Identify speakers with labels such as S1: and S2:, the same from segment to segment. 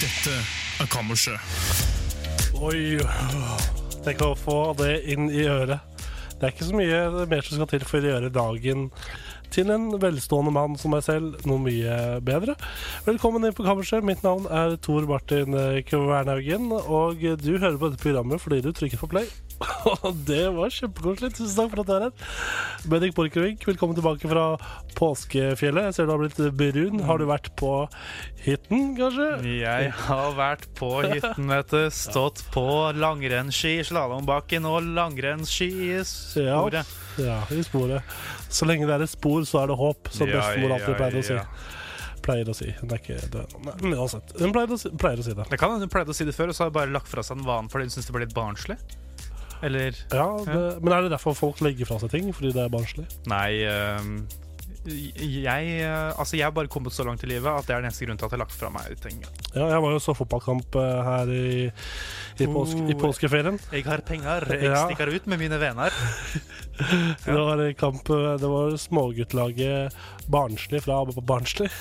S1: Dette er kammerset.
S2: Oi, tenk å få det inn i øret. Det er ikke så mye mer som skal til for å gjøre dagen til en velstående mann som meg selv noe mye bedre. Velkommen inn på kammerset. Mitt navn er Tor Martin Kvernhaugen, og du hører på dette programmet fordi du trykker på play. Og det var kjempekoselig. Tusen takk for at du er her. Bendik Borchgrevink, velkommen tilbake fra påskefjellet. Jeg ser du har blitt brun. Har du vært på hytten, kanskje?
S3: Jeg har vært på hytten, vet du. Stått på langrennsski i slalåmbakken og langrennsski i sporet.
S2: Ja, i sporet. Så lenge det er et spor, så er det håp, som
S3: Ja,
S2: bestemor alltid
S3: ja,
S2: pleide å si.
S3: ja.
S2: Pleier å si. Hun er ikke død. Nei, men uansett. Hun pleier å si, pleier å si det.
S3: Det kan hende hun pleide å si det før, og så har hun bare lagt fra seg den vanen fordi hun syns det ble litt barnslig. Eller
S2: Ja, det, Men er det derfor folk legger fra seg ting? Fordi det er barnslig?
S3: Nei. øhm, jeg, øh, altså jeg har bare kommet så langt i livet at det er den eneste grunnen til at jeg har lagt fra meg ting.
S2: Ja, jeg var jo så fotballkamp eh, her i, i, påske, i
S3: Oh.
S2: påskeferien.
S3: Jeg har penger, jeg
S2: Ja.
S3: stikker ut med mine venner.
S2: Det var i kamp eh, Det var småguttlaget Barnslig fra Barnslig.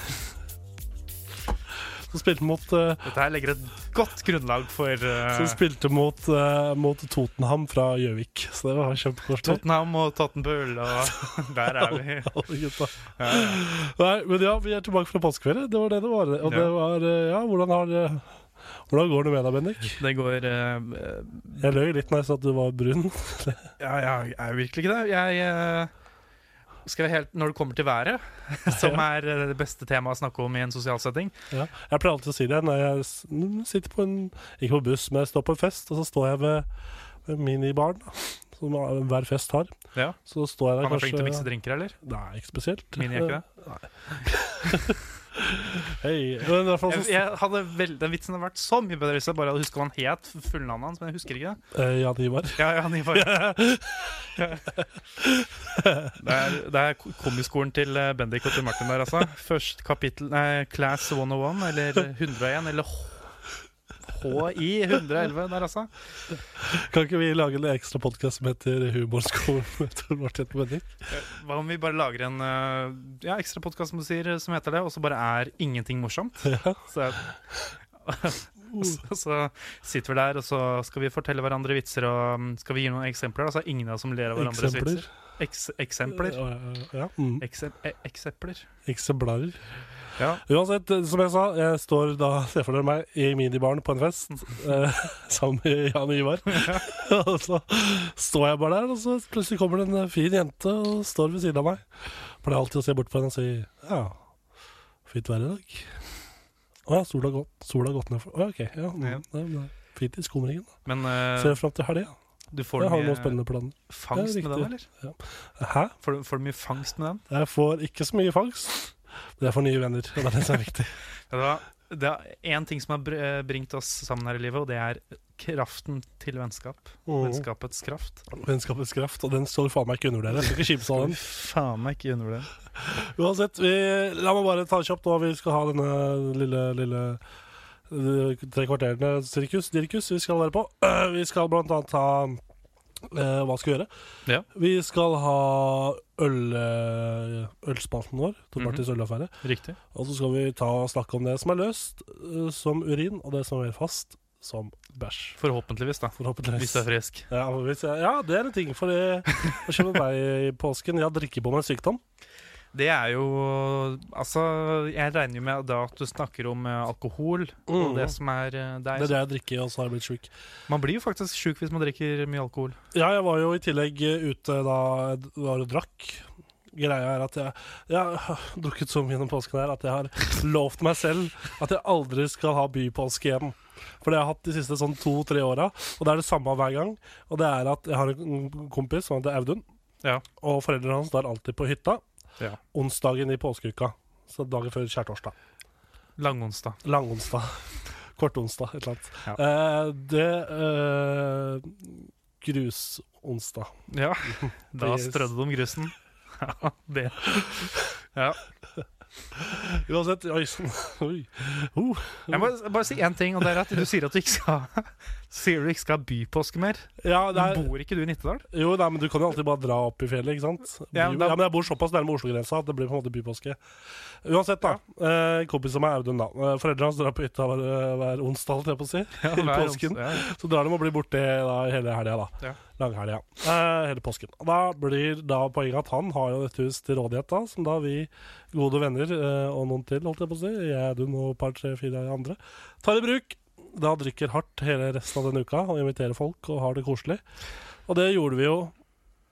S2: Som spilte mot eh,
S3: Dette her legger et godt grunnlag for øh,
S2: Som spilte mot, eh, mot Tottenham fra Gjøvik. Så det var kjempekoselig.
S3: Tottenham og Tottenbull, og der er vi.
S2: Alle gutta. Nei, men ja, vi er tilbake fra påskeferie. Det var det det var. Og det
S3: Ja.
S2: var eh, Ja, hvordan har eh, hvordan går det med deg, Bendik?
S3: Det går øh,
S2: Jeg løy litt når jeg sa at du var brun.
S3: Ja, jeg er jo virkelig ikke det. Jeg eh, skal være helt Når det kommer til været, som er eh, det beste temaet å snakke om i en sosial setting
S2: Ja. Jeg pleier alltid å si det når jeg s- n- sitter på en Ikke på buss, men jeg står på en fest, og så står jeg ved, ved minibaren, da, som hver fest har.
S3: ja.
S2: Så står jeg der
S3: Han er flink til å mikse
S2: kanskje
S3: drinker, eller?
S2: Nei, ikke spesielt.
S3: Mini er ikke det.
S2: Hei. Men i hvert fall
S3: Jeg,
S2: så
S3: jeg hadde vel, den vitsen hadde vært så mye bedre hvis jeg bare hadde husket hva han het, fullnavnet hans, men jeg husker ikke det.
S2: Eh, Jan Ivar.
S3: Ja, ja, han gir bare- det, er, det er komiskolen til eh, Bendik og til Martin der, altså. Først kapittel Nei, Class 101, eller 101, eller H- HI 111 der, altså.
S2: Kan ikke vi lage en ekstra podkast som heter Humorskolen med Tor Martin og Bendik?
S3: Hva om vi bare lager en eh, ja, ekstra podkast som, du sier, som heter det, og så bare er ingenting morsomt?
S2: Ja.
S3: Så, så, så sitter vi der, og så skal vi fortelle hverandre vitser, og mm, skal vi gi noen eksempler? Altså ingen av oss som ler av hverandres
S2: Eksempler. Eh,
S3: vitser. Eks, eksempler.
S2: Ja, mm.
S3: Ekse, e, eksempler.
S2: Eksemplarer.
S3: Ja.
S2: Uansett, eh, som jeg sa, jeg står da, se for dere meg, i minibaren på en fest eh, sammen med Jan Ivar. og så står jeg bare der, og så plutselig kommer det en eh, fin jente og står ved siden av meg. Pleier alltid å se bort på henne og si ja, fint vær i dag. Å ja, sola har gått, sola har gått ned for Å ja, ok. Ja, mm,
S3: Ja.
S2: det er Fint i skumringen.
S3: Men eh,
S2: Ser fram til helga.
S3: du får
S2: Jeg har noen
S3: mye
S2: spennende planer.
S3: fangst
S2: Ja,
S3: med den,
S2: riktig.
S3: eller?
S2: Hæ?
S3: Får du, får du mye fangst med den?
S2: Jeg får ikke så mye fangst, men jeg får nye venner. Og det er det som er viktig.
S3: Ja, det var- det er én ting som har br- eh, bringt oss sammen her i livet, og det er kraften til vennskap.
S2: Mm.
S3: Vennskapets kraft.
S2: Vennskapets kraft, og den står faen meg ikke under dere. Jeg skal ikke sånn. kimse av den.
S3: Faen meg ikke undervurder.
S2: Uansett, vi, la meg bare ta kjapt nå. Vi skal ha denne lille, lille eh, tre kvarterene sirkus, dirkus vi skal være på. Eh, Vi skal blant annet ha eh, Hva skal vi gjøre?
S3: Ja.
S2: Vi skal ha øl, eh, ølspalten vår. Tor Martins ølaffære.
S3: Riktig.
S2: Og så skal vi ta og snakke om det som er løst eh, som urin, og det som er fast som bæsj.
S3: Forhåpentligvis, da. Hvis
S2: Forhåpentligvis.
S3: du er frisk.
S2: Ja, hvis jeg, ja, det er en ting for det. Hva skjer med meg i påsken? Jeg drikker på meg en sykdom.
S3: Det er jo Altså, jeg regner jo med da at du snakker om eh, alkohol og
S2: Mhm.
S3: det som er eh,
S2: Det
S3: der.
S2: er det jeg drikker, og så har jeg blitt sjuk.
S3: Man blir jo faktisk sjuk hvis man drikker mye alkohol.
S2: Ja, jeg var jo i tillegg ute da jeg d- var og drakk. Greia er at jeg, jeg har drukket så mye gjennom påsken her at jeg har lovt meg selv at jeg aldri skal ha bypåske igjen. For det har jeg hatt de siste sånn to-tre åra, og det er det samme hver gang. Og det er at jeg har en kompis som heter Audun,
S3: Ja.
S2: og foreldrene hans drar alltid på hytta.
S3: Ja.
S2: onsdagen i påskeuka. Så dagen før skjærtorsdag.
S3: Langonsdag.
S2: Langonsdag. Kortonsdag, et eller annet.
S3: Ja.
S2: Eh, det eh, Grusonsdag.
S3: Ja, da
S2: Yes.
S3: strødde de grusen. Ja, det. Ja.
S2: Uansett Oi. sånn. oi. Uh,
S3: Jeg må bare si én ting, og det er at du sier at du ikke skal, sier du ikke skal ha bypåske mer.
S2: ja, det er,
S3: Bor ikke du i Nittedal?
S2: jo, nei, men du kan jo alltid bare dra opp i fjellet, ikke sant?
S3: Ja, men da-
S2: ja, men jeg bor såpass nærme Oslo-grensa at det blir på en måte bypåske. Uansett, da. Eh, en kompis av meg, Audun, da. Eh, Foreldrene hans drar på hytta hver, eh, hver onsdag, holdt jeg på å si. I
S3: hver
S2: påsken.
S3: onsdag, ja.
S2: Så drar de og blir borte da, hele helga, da.
S3: Ja.
S2: Langhelga. Eh, hele påsken. Da blir da poenget at han har jo et hus til rådighet, da, som da vi gode venner, eh, og noen til, holdt jeg på å si, jeg, du og et par, tre, fire andre, tar i bruk. Da drikker hardt hele resten av denne uka og inviterer folk og har det koselig. Og det gjorde vi jo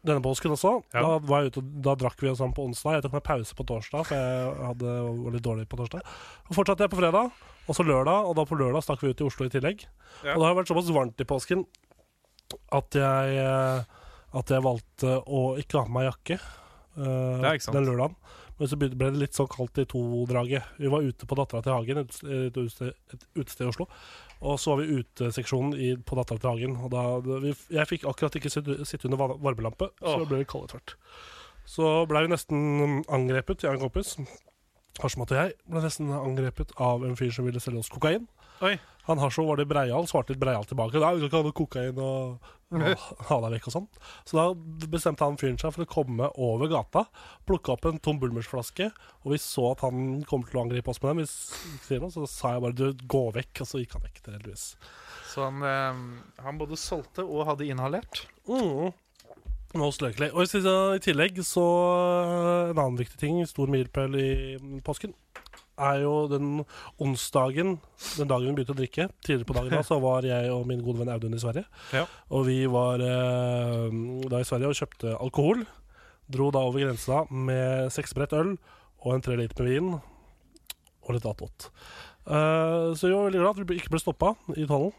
S2: denne påsken også.
S3: Ja.
S2: Da, var jeg ute, og- da drakk vi oss sammen på onsdag. Jeg tok meg pause på torsdag, for jeg hadde, var litt dårlig på torsdag. Og fortsatte jeg på fredag, og så lørdag, og da på lørdag stakk vi ut i Oslo i tillegg.
S3: Ja.
S2: Og det har vært såpass varmt i påsken at jeg, eh, at jeg valgte å ikke ha på meg jakke eh,
S3: Ja, ikke sant.
S2: den lørdagen. Men så begynte- ble det litt sånn kaldt i to-draget. Vi var ute på Dattera til Hagen, et, et, utested- et utested i Oslo. Og så var vi uteseksjonen i, på Dattera til Hagen. Og da, vi, jeg fikk akkurat ikke sitte, sitte under va- varmelampe, så
S3: Åh.
S2: det ble litt kaldt etter hvert. Så blei vi nesten angrepet, jeg og en kompis. Harsmat og jeg ble nesten angrepet av en fyr som ville selge oss kokain.
S3: Oi.
S2: Han Hasjo var litt breial, svarte litt breial tilbake. Nei, vi kan ikke ha noe kokain og, og ha deg vekk og sånn. Så da bestemte han fyren seg for å komme over gata, plukke opp en tom Bulmers-flaske, og vi så at han kom til å angripe oss med den. Hvis vi ikke sier noe, så sa jeg bare du, gå vekk, og så gikk han vekk, til heldigvis.
S3: Så han, eh, han både solgte og hadde inhalert.
S2: Mm. Most likely. Og i siste- i tillegg så eh, En annen viktig ting, stor milepæl i mm, påsken, er jo den onsdagen, den dagen vi begynte å drikke. Tidligere på dagen da, så var jeg og min gode venn Audun i Sverige.
S3: Ja.
S2: Og vi var eh, da i Sverige og kjøpte alkohol. Dro da over grensa med seks brett øl og en tre liter med vin og litt attåt. Eh, så vi var veldig glad at vi ikke ble stoppa i tollen.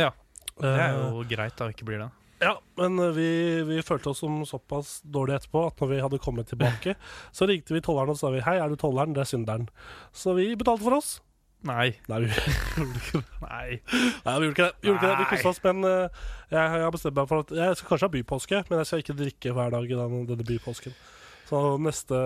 S3: Ja, Det er
S2: Eh,
S3: jo greit da, ikke blir det.
S2: ja, men eh, vi, vi følte oss som såpass dårlige etterpå at når vi hadde kommet tilbake, så ringte vi tolleren og sa vi, hei, er du tolleren? Det er synderen. Så vi betalte for oss.
S3: Nei.
S2: Nei, vi gjorde ikke det.
S3: Nei.
S2: Nei, vi gjorde ikke det. Vi, gjorde ikke det. vi
S3: Nei.
S2: koste oss, men eh, jeg, jeg har bestemt meg for at jeg skal kanskje ha bypåske, men jeg skal ikke drikke hver dag i den, denne bypåsken. Så neste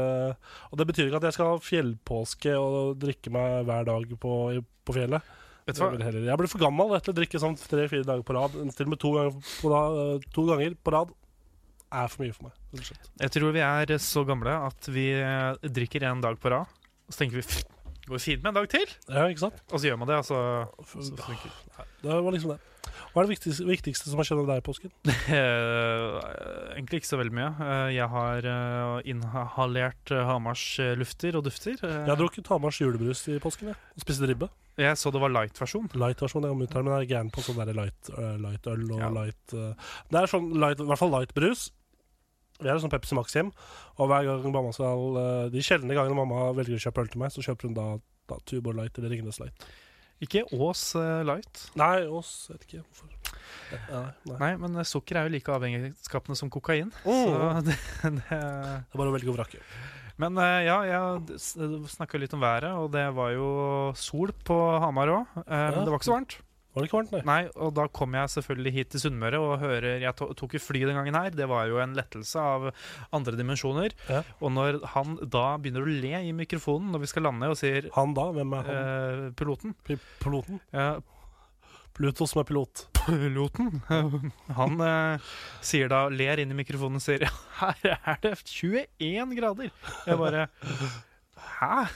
S2: Og det betyr ikke at jeg skal ha fjellpåske og drikke meg hver dag på, i- på fjellet.
S3: Vet du
S2: Jeg,
S3: hva?
S2: vil heller- jeg blir for gammel til å drikke sånn tre-fire dager på rad. Til og med to ganger på, ra- to ganger på rad er for mye for meg. rett og slett.
S3: Jeg tror vi er så gamle at vi eh, drikker en dag på rad, og så tenker vi "Pff, det går fint med en dag til,
S2: Ja, ikke sant?
S3: og så gjør man det, altså. og så, så funker det.
S2: Det var liksom det. Hva er det viktigste, viktigste som har skjedd med deg i påsken?
S3: Eh, Egentlig ikke så veldig mye. Eh, Jeg har eh, inhalert eh, Hamars eh, lufter og dufter. Eh,
S2: Jeg har drukket Hamars julebrus i påsken. Jeg, og spiste ribbe.
S3: Jeg så det var light-versjon.
S2: Light-versjon. Jeg kommer ut her, men jeg er gæren på sånn der light, øh, light øl og
S3: Ja.
S2: light øh, Det er sånn light, i hvert fall light brus. Vi er sånn Pepsi Max hjem, og hver gang mamma skal øh, de sjeldne gangene mamma velger å kjøpe øl til meg, så kjøper hun da, da Tuborg Light eller Ringnes Light.
S3: Ikke Ås eh, light.
S2: Nei, oss, jeg vet ikke hvorfor. Nei, nei.
S3: Nei, men eh, sukker er jo like avhengighetsskapende som kokain.
S2: Mm.
S3: Så det, det
S2: Det er bare å velge og vrake.
S3: Men eh, ja, jeg snakka eh, litt om været, og det var jo sol på Hamar òg.
S2: Ja.
S3: Men det var ikke så varmt.
S2: Var det ikke varmt, nei?
S3: Nei, Og da kom jeg selvfølgelig hit til Sunnmøre og hører Jeg to tok jo fly den gangen her. Det var jo en lettelse av andre dimensjoner.
S2: Ja.
S3: Og når han da begynner å le i mikrofonen når vi skal lande, og sier
S2: Han da? Hvem er han?
S3: eh, piloten
S2: Pi- Piloten?
S3: eh,
S2: Pluto som er pilot.
S3: Piloten Han eh, sier da, ler inn i mikrofonen og sier «Ja, Her er det 21 grader Jeg bare Hæ?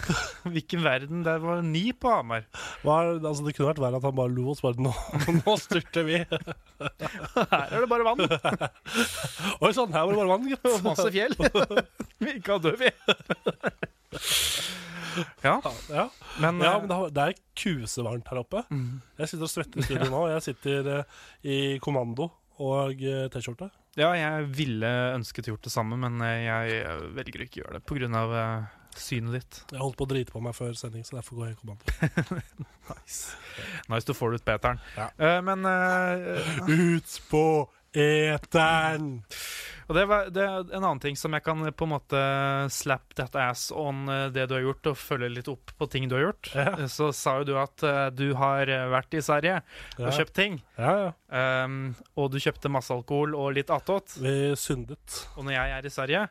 S3: Hvilken verden? Det var ni på Hamar
S2: Hva er, altså, det kunne vært verre at han bare lo og sparte nå, nå styrter vi.
S3: Her er det bare vann og
S2: Oi sann, her var det bare vann, gitt.
S3: masse fjell Vi ikke har død vi Ja,
S2: Ja.
S3: men,
S2: Ja,
S3: eh,
S2: men det, har, det er kusevarmt her oppe. Jeg sitter og svetter i studio nå. Jeg sitter eh, i kommando og eh, T-skjorte.
S3: ja, jeg ville ønsket å gjort det samme Men eh, jeg velger å ikke gjøre det På grunn av eh, synet ditt
S2: Jeg holdt på å drite på meg før sending, så derfor går jeg i kommando.
S3: Nice, nice du får det ut Peteren
S2: Ja.
S3: Eh, Men eh,
S2: Ut på eteren!
S3: Og det, var, det er en annen ting som jeg kan eh, på en måte slap that ass on eh, det du har gjort, og følge litt opp på ting du har gjort.
S2: Ja.
S3: Eh, Så sa jo du at eh, du har eh, vært i Sverige og
S2: Ja,
S3: kjøpt ting.
S2: ja, ja.
S3: Ehm, og du kjøpte masse alkohol og litt attåt.
S2: Vi syndet.
S3: Og når jeg er i Sverige,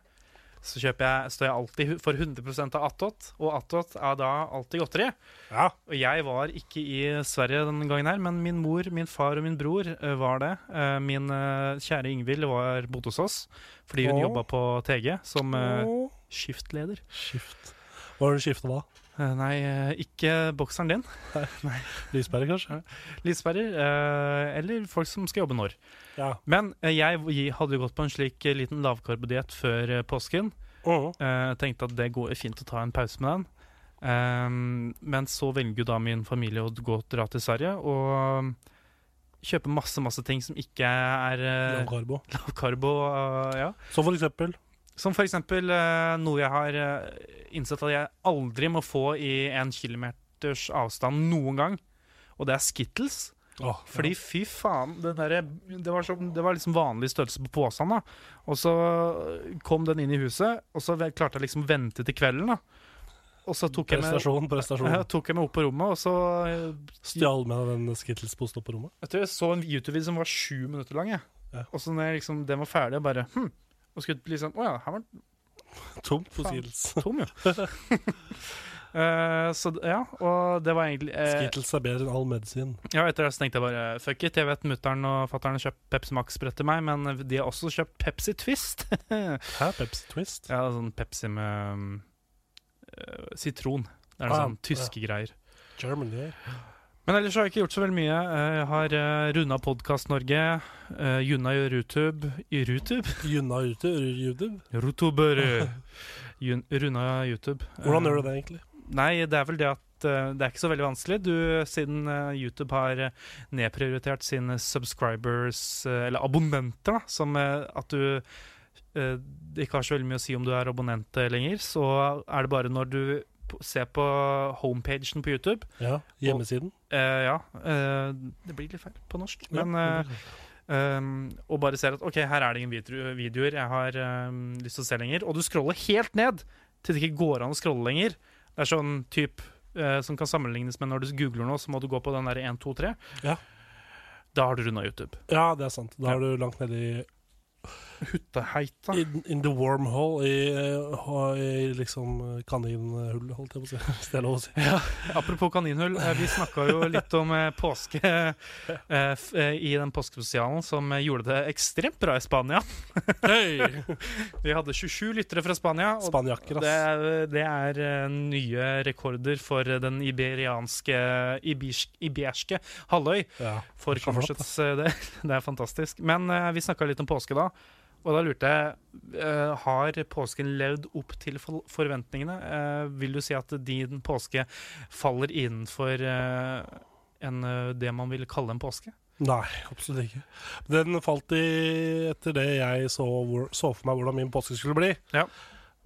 S3: så kjøper jeg, står jeg alltid hu- for 100 av attåt. Og attåt er da alltid godteri.
S2: Ja.
S3: Og jeg var ikke i Sverige den gangen her, men min mor, min far og min bror eh, var det. Eh, Min eh, kjære Ingvild var bodde hos oss fordi hun
S2: Åh.
S3: jobba på TG som eh,
S2: Åh,
S3: skiftleder.
S2: Skift. Hva var det du skifta da?
S3: Eh, Nei, eh, ikke bokseren din,
S2: Lysberg, kanskje?
S3: Lisberger, eh, eller folk som skal jobbe når.
S2: Ja.
S3: Men eh, jeg gi- hadde jo gått på en slik eh, liten lavkarbodiett før eh, påsken.
S2: Mhm.
S3: Eh, tenkte at det går fint å ta en pause med den. Ehm, men så velger jo da min familie å gå dra til Sverige og um, kjøpe masse masse ting som ikke er
S2: Jan
S3: eh,
S2: Carbo.
S3: lavkarbo. eh, ja.
S2: Så for eksempel
S3: Som for eksempel eh, noe jeg har eh, innsett at jeg aldri må få i en kilometers avstand noen gang, og det er Skittles.
S2: Åh,
S3: Fordi fy faen, den derre- det, var som- det var liksom vanlig størrelse på posen. da. Og så kom den inn i huset, og så ve- klarte jeg liksom å vente til kvelden. da. Og så tok jeg, med,
S2: Prestasjon,
S3: ja,
S2: prestasjon.
S3: tok jeg med opp på rommet, og så eh,
S2: Stjal med deg den Skittles-posen opp på rommet?
S3: Jeg tror jeg så en YouTube-video som var sju minutter lang. jeg.
S2: Ja.
S3: Og så når jeg liksom, den var ferdig, jeg bare hm, og skulle liksom, Å ja, her var den
S2: Tom på
S3: Faen.
S2: Skittles.
S3: tom, jo. Eh, så d- ja, og det var egentlig eh,
S2: Skittles er bedre enn all medisin.
S3: Ja, etter det så tenkte jeg bare fuck it. Jeg vet mutter'n og fatter'n har kjøpt Pepsi Max-brett til meg, men de har også kjøpt Pepsi Twist. ja,
S2: Hæ? Pepsi Twist?
S3: sånn Pepsi med um, øh, sitron. Det er
S2: Ah,
S3: sånn tyske greier.
S2: German, yeah.
S3: Men ellers har jeg ikke gjort så veldig mye. Eh, Jeg har uh, runda Podkast Norge. Uh, Junna gjør YouTube. I YouTube?
S2: Junna ute, YouTube.
S3: Rotober. Jun- Runda YouTube.
S2: Hvordan gjør du det, egentlig?
S3: Nei, det er vel det at eh, det er ikke så veldig vanskelig. Du, siden eh, YouTube har eh, nedprioritert sine subscribers, eh, eller abonnenter, da, som eh, at du eh, det ikke har så veldig mye å si om du er abonnent eh, lenger, så er det bare når du p- ser på homepagen på YouTube
S2: Ja, Hjemmesiden?
S3: eh, Ja, eh, det blir litt feil på norsk, men eh, Um, og bare ser at ok, her er det ingen vidru- videoer jeg har um, lyst til å se lenger. Og du scroller helt ned til det ikke går an å scrolle lenger. Det er sånn typ eh, som kan sammenlignes med når du googler noe, så må du gå på den der 1, 2, 3.
S2: Ja.
S3: Da har du runda YouTube.
S2: Ja, det er sant. Da er du langt nede i
S3: Hutteheita.
S2: in, in the wormhole, i, eh, i liksom kaninhullet, holdt jeg på å si. Hvis det er lov å si.
S3: Apropos kaninhull, eh, vi snakka jo litt om eh, påske eh, f- eh, i den påskespesialen som eh, gjorde det ekstremt bra i Spania. Vi hadde 27 lyttere fra Spania, og
S2: Spanjakker,
S3: Det,
S2: ass.
S3: er- det er eh, nye rekorder for den iberianske ibirsk, Iberske halvøy
S2: Ja.
S3: for
S2: Det er så flott,
S3: Comfortsets del. Det er fantastisk. Men eh, vi snakka litt om påske da, og da lurte jeg eh, Har påsken levd opp til for forventningene? Eh, vil du si at din påske faller innenfor eh, en, eh, det man vil kalle en påske?
S2: Nei, absolutt ikke. Den falt i etter det jeg så, hvor, så for meg hvordan min påske skulle bli.
S3: Ja.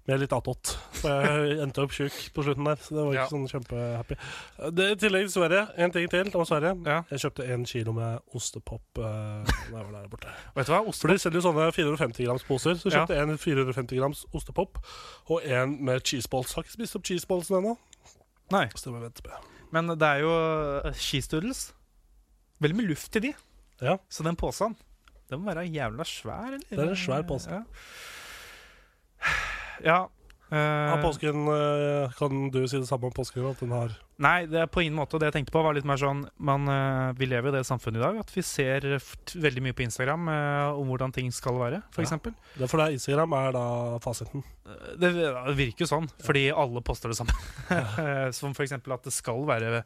S2: Med litt attåt. Så jeg endte opp tjukk på slutten der. Så det var ikke
S3: Ja.
S2: sånn kjempehappy. Det er I tillegg til Sverige, en ting til om Sverige.
S3: Ja.
S2: Jeg kjøpte en kilo med ostepop eh, da jeg var der borte.
S3: Vet du hva? Ost
S2: For de selger jo sånne 450 grams poser. Så jeg
S3: Ja.
S2: kjøpte en 450 grams ostepop og en med cheeseballs. Har ikke spist opp cheeseballsen ennå.
S3: Nei.
S2: Så det må jeg vente på.
S3: Men det er jo eh, skistoodles. Veldig mye luft i de.
S2: Ja.
S3: Så den posen, den må være jævla svær, eller?
S2: Det er en svær pose.
S3: Ja. ja. eh,
S2: Har påsken eh, Kan du si det samme om påsken? At den har
S3: Nei, det er på ingen måte. Det jeg tenkte på, var litt mer sånn man, eh, Vi lever i det samfunnet i dag at vi ser f- t- veldig mye på Instagram eh, om hvordan ting skal være,
S2: Ja.
S3: f.eks. eksempel
S2: Det er for deg Instagram er da fasiten.
S3: Eh, Det virker jo sånn, fordi alle poster det samme. Eh, Som f.eks. at det skal være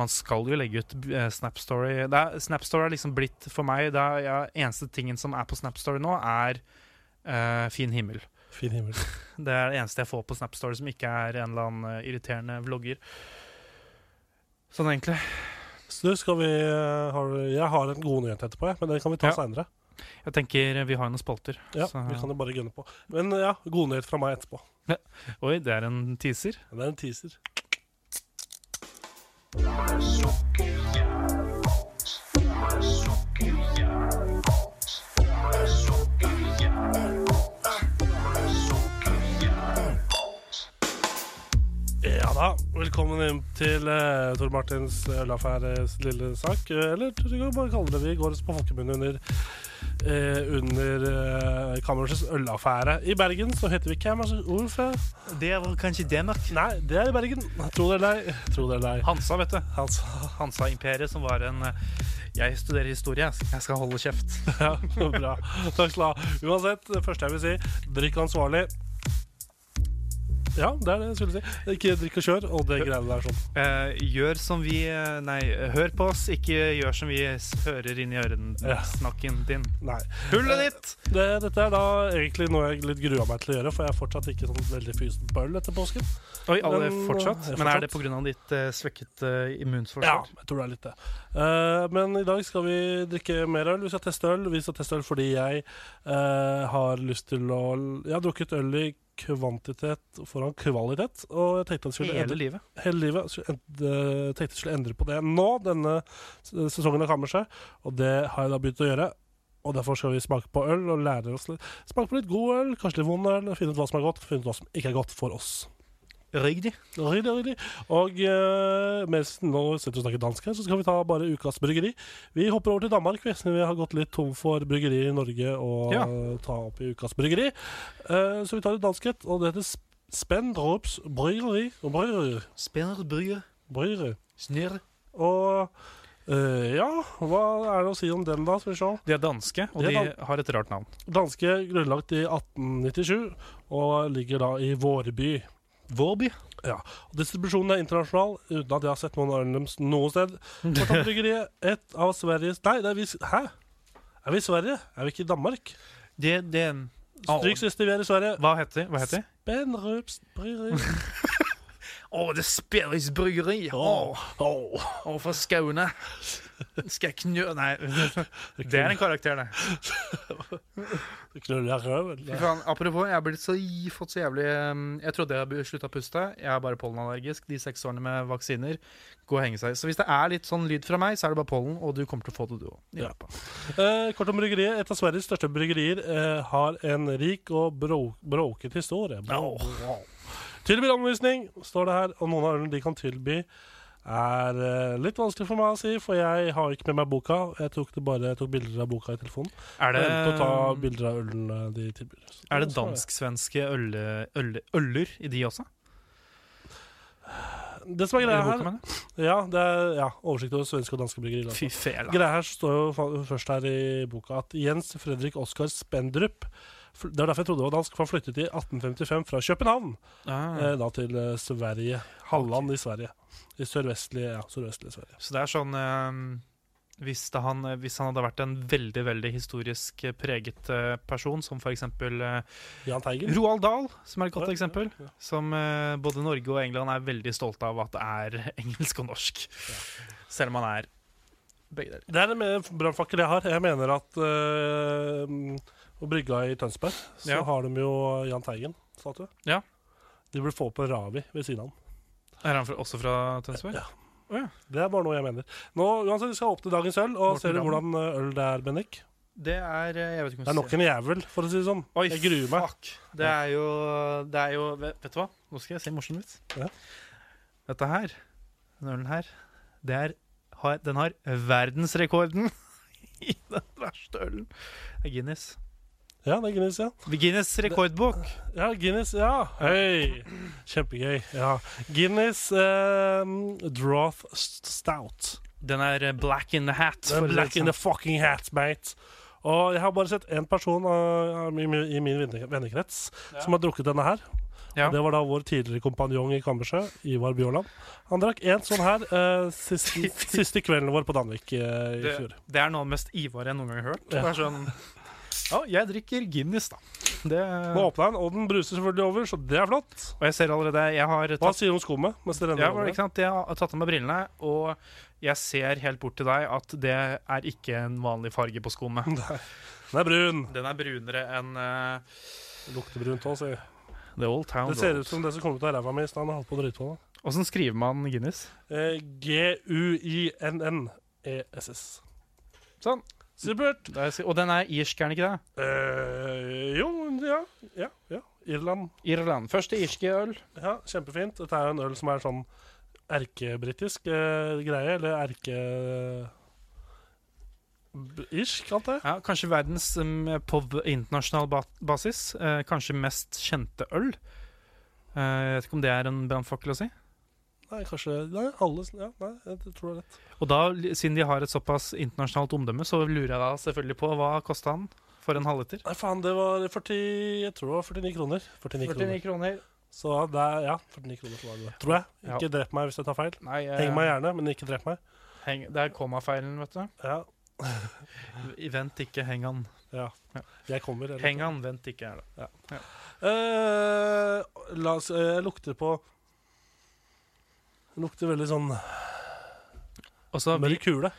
S3: Man skal jo legge ut eh, Snap Story. Det er, Snap Story er liksom blitt for meg det er, ja, Eneste tingen som er på Snap Story nå, er eh, fin himmel.
S2: Fin himmel.
S3: Det er det eneste jeg får på Snap Story som ikke er en eller annen eh, irriterende vlogger. Sånn egentlig.
S2: Så du, skal vi eh, har, du- Jeg har en god nyhet etterpå, jeg, men det kan vi ta
S3: Ja.
S2: senere
S3: Jeg tenker eh, vi har jo noen spalter.
S2: Ja,
S3: så-
S2: vi kan jo bare gunne på. Men eh, ja, god nyhet fra meg etterpå.
S3: Oi, det er en teaser.
S2: Det er en teaser. da. Velkommen inn til eh, Tor Martins eh, Laffæres lille sak. Eh, Eller du kan bare kalle det vi går oss på folkemunne under, eh, under eh, Kammersets ølaffære. I Bergen så heter vi Kammersordfører.
S3: Det var kanskje Danmark.
S2: Nei, det er i Bergen. Tro det eller ei. Tro det eller ei.
S3: Hansa, vet du.
S2: Altså,
S3: Hansa-imperiet, som var en eh, Jeg studerer historie, jeg skal holde kjeft.
S2: ja, bra. Takk skal du ha. Uansett, det første jeg vil si, drikk ansvarlig. Ja, det er det jeg skulle si. Ikke drikk og kjør, og det greiene der sånn.
S3: Eh, gjør som vi eh, Nei, hør på oss, ikke gjør som vi s- hører inn i
S2: Ja.
S3: ørensnakken din. Eh,
S2: Nei.
S3: Hullet ditt!
S2: Det, dette er da egentlig noe jeg litt grua meg til å gjøre, for jeg er fortsatt ikke sånn veldig fysen på øl etter påsken.
S3: Oi, alle
S2: Men,
S3: fortsatt?
S2: eh,
S3: Men
S2: fortsatt.
S3: er det pga. ditt eh, svekket eh,
S2: Ja,
S3: immunforsvar?
S2: jeg tror det er litt det. Eh, men i dag skal vi drikke mer øl. Vi skal teste øl. Vi skal teste øl fordi jeg eh, har lyst til å Jeg har drukket øl i kvantitet foran kvalitet, og jeg tenkte at jeg skulle
S3: Hele
S2: endre,
S3: livet.
S2: hele livet skulle endre, tenkte jeg skulle endre på det nå, denne s- sesongen av Kammerset, og det har jeg da begynt å gjøre. Og Derfor skal vi smake på øl og lære oss litt. Smake på litt god øl, kanskje litt vond øl, finne ut hva som er godt, finne ut hva som ikke er godt for oss.
S3: Riktig.
S2: Ryddig, ryddig. Og eh, mens nå sitter vi og snakker dansk her, så skal vi ta bare ukas bryggeri. Vi hopper over til Danmark, vi, siden vi har gått litt tom for bryggeri i Norge å
S3: Ja.
S2: eh, ta opp i ukas bryggeri. Eh, så vi tar et dansk et, og det heter Sp- Spendrups Bryggeri. Bryggeri.
S3: Spinner, bryer,
S2: Bryggeri.
S3: snurr.
S2: Og eh, ja, hva er det å si om den, da? Skal vi se.
S3: De er danske, og
S2: De
S3: de,
S2: er
S3: har et rart navn.
S2: Danske grunnlagt i 1897, og ligger da i Vårby.
S3: Vårby.
S2: Ja, og Distribusjonen er internasjonal, uten at jeg har sett noen ølen deres noe sted. Fortapt bryggeriet, et av Sveriges Nei, det er vi Hæ? Er vi i Sverige? Er vi ikke i Danmark?
S3: Det, det er en-
S2: Stryk siste, vi er i Sverige.
S3: Hva heter de? Hva heter de?
S2: Benrups bryggeri.
S3: Å, det er Sperris bryggeri!
S2: Åh,
S3: fra Skaune. Skal jeg knø... Nei, det er en karakter, det.
S2: Det Knuller jeg røven?
S3: Fy faen, apropos, jeg har blitt så, gi- fått så jævlig um, Jeg trodde jeg hadde slutta å puste. Jeg er bare pollenallergisk. De seks årene med vaksiner gå og henge seg. Så hvis det er litt sånn lyd fra meg, så er det bare pollen, og du kommer til å få det, du òg.
S2: Ja. Eh, kort om bryggeriet. Et av Sveriges største bryggerier eh, har en rik og bro broket historie. Bro wow. Tilbyr anvisning, står det her. Og noen av ølene de kan tilby, er eh, litt vanskelig for meg å si, for jeg har ikke med meg boka. Jeg tok, det bare, jeg tok bilder av boka i telefonen. Og
S3: Er det,
S2: endte å ta bilder av ølene de tilbyr. Så
S3: er det
S2: så
S3: dansk-svenske ølle, ølle, øller i de også?
S2: Det som er
S3: I
S2: greia
S3: boka,
S2: her
S3: mener jeg?
S2: Ja, det er ja, oversikt over svenske og danske bryggerier. altså.
S3: Fy fela.
S2: Greia her står jo fa- først her i boka at Jens Fredrik Oskar Spendrup fl- det var derfor jeg trodde det var dansk, for han flyttet i 1855 fra København
S3: Ah,
S2: eh, da til eh, Sverige. Halland i Sverige. I sørvestlige, ja, sørvestlige Sverige.
S3: så det er sånn um, hvis, det han, hvis han hadde vært en veldig veldig historisk eh, preget eh, person, som for eksempel eh,
S2: Jahn Teigen.
S3: Roald Dahl, som er et godt
S2: Ja,
S3: eksempel.
S2: ja, ja.
S3: Som eh, både Norge og England er veldig stolte av at det er engelsk og norsk. Selv om han er begge deler.
S2: Det er en me- brannfakkel jeg har. Jeg mener at eh, Og brygga i Tønsberg, så
S3: Ja.
S2: har de jo Jahn Teigen-statue.
S3: Ja.
S2: De burde få på Ravi ved siden av han.
S3: Er han fra, også fra Tønsberg?
S2: Ja. Det er bare noe jeg mener. Nå, uansett, Vi skal opp til dagens øl, og
S3: Morten
S2: ser du
S3: Ramm.
S2: hvordan eh, øl det er, Bennik?
S3: Det er eh, Jeg vet ikke om
S2: Det er nok en jævel, for å si det sånn.
S3: Oi,
S2: jeg gruer meg.
S3: fuck. Det er jo Det er jo Vet vet du hva? Nå skal jeg si en morsom vits.
S2: Ja.
S3: Dette her, denne ølen her, det er har, Den har verdensrekorden i den verste ølen. Det er Guinness.
S2: Ja, det er Guinness, ja.
S3: Guinness rekordbok.
S2: Ja, Guinness, ja. Hei! Kjempegøy. Ja. Guinness eh, Drawth Stout.
S3: Den er eh, black in the hat.
S2: Det er
S3: for å si
S2: Black
S3: det
S2: in
S3: sånn.
S2: the fucking hat, mate. Og jeg har bare sett én person eh, i min- i min venne- vennekrets som har drukket denne her.
S3: Ja.
S2: Og Det var da vår tidligere kompanjong i Kammersø, Ivar Bjørland. Han drakk en sånn her eh, siste, siste kvelden vår på Danvik eh, i
S3: det,
S2: fjor.
S3: det er noe av det mest Ivar jeg noen gang har hørt.
S2: Ja.
S3: Det er sånn Ja, jeg drikker Guinness, da. Det,
S2: Nå åpna den, og den bruser selvfølgelig over, så det er flott.
S3: og jeg ser allerede Jeg har
S2: Hva
S3: tatt,
S2: sier du om skummet? Mens det renner
S3: ja,
S2: over?
S3: ikke sant? jeg har tatt av meg brillene, og jeg ser helt bort til deg at det er ikke en vanlig farge på skoene.
S2: Den er brun.
S3: Den er brunere enn eh,
S2: Lukter brunt òg, sier jeg.
S3: The Old Town
S2: Det ser
S3: Road.
S2: ut som det som kom ut av ræva mi i stad. når jeg holdt på å drite på det.
S3: Åssen skriver man Guinness?
S2: Eh, G-u-i-n-n-e-s-s.
S3: Sånn.
S2: Supert.
S3: Der, og den er irsk, er den ikke det?
S2: Eh, jo, ja. Ja. ja. Irland.
S4: Irland. Første irske øl.
S2: Ja, kjempefint. Dette er jo en øl som er sånn erkebritisk eh, greie, eller erke... b- Irsk, antar jeg.
S3: Ja, kanskje verdens um, på v- internasjonal ba basis eh, kanskje mest kjente øl. Eh, jeg vet ikke om det er en brannfakkel å si.
S2: Nei, kanskje Nei, alle Ja, nei, jeg tror du har rett.
S3: Og da, li- siden de har et såpass internasjonalt omdømme, så lurer jeg da selvfølgelig på hva kosta han for en halvliter?
S2: Nei, faen, det var 40 Jeg tror det var 49 kroner. 49
S4: 49
S2: kroner.
S4: kroner.
S2: Så det er, ja, 49 kroner for det. Tror jeg. Ikke drep meg hvis jeg tar feil.
S4: Nei, eh,
S2: Heng meg gjerne, men ikke drep meg.
S4: heng, det er kommafeilen, vet du.
S2: Ja,
S3: I- Vent ikke, heng han.
S2: ja. Jeg kommer. eller-
S3: Heng han, vent ikke, er det.
S2: Eh, la oss eh, Jeg lukter på det lukter veldig sånn
S3: Og så vi-
S2: mørk hule.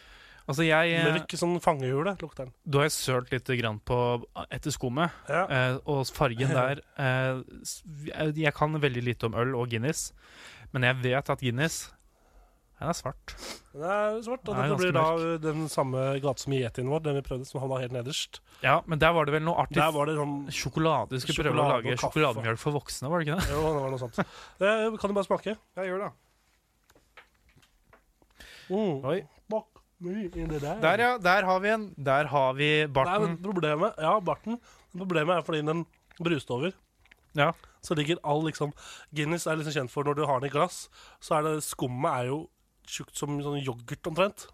S3: altså jeg, eh,
S2: Mørk sånn fangehule lukter den.
S3: Da har jeg sølt litt grann på eh, etter skummet,
S2: Ja.
S3: eh, og fargen der eh, s- jeg- Jeg kan veldig lite om øl og Guinness, men jeg vet at Guinness den er svart.
S2: Den er svart, og
S3: Den er
S2: dette blir
S3: ganske
S2: da den samme gata som yetien vår, den vi prøvde, som havna helt nederst.
S3: Ja, men der var det vel noe artig
S2: Der var det sånn
S3: Sjokolade. Du skulle prøve å
S2: Sjokolade
S3: lage
S2: og kaffe.
S3: sjokolademjølk for voksne, var det ikke det?
S2: Jo, det var noe sånt. Eh, kan du bare smake?
S4: Ja, gjør det.
S2: Mm.
S4: Oi.
S2: Bak, my, inni der.
S3: Der, ja. Der har vi en. Der har vi
S2: Nei,
S3: barten.
S2: men problemet, ja, barten. Problemet er fordi den bruste over.
S3: Ja.
S2: Så ligger all liksom Guinness er liksom kjent for når du har den i glass, så er det skummet er jo tjukt som sånn yoghurt omtrent.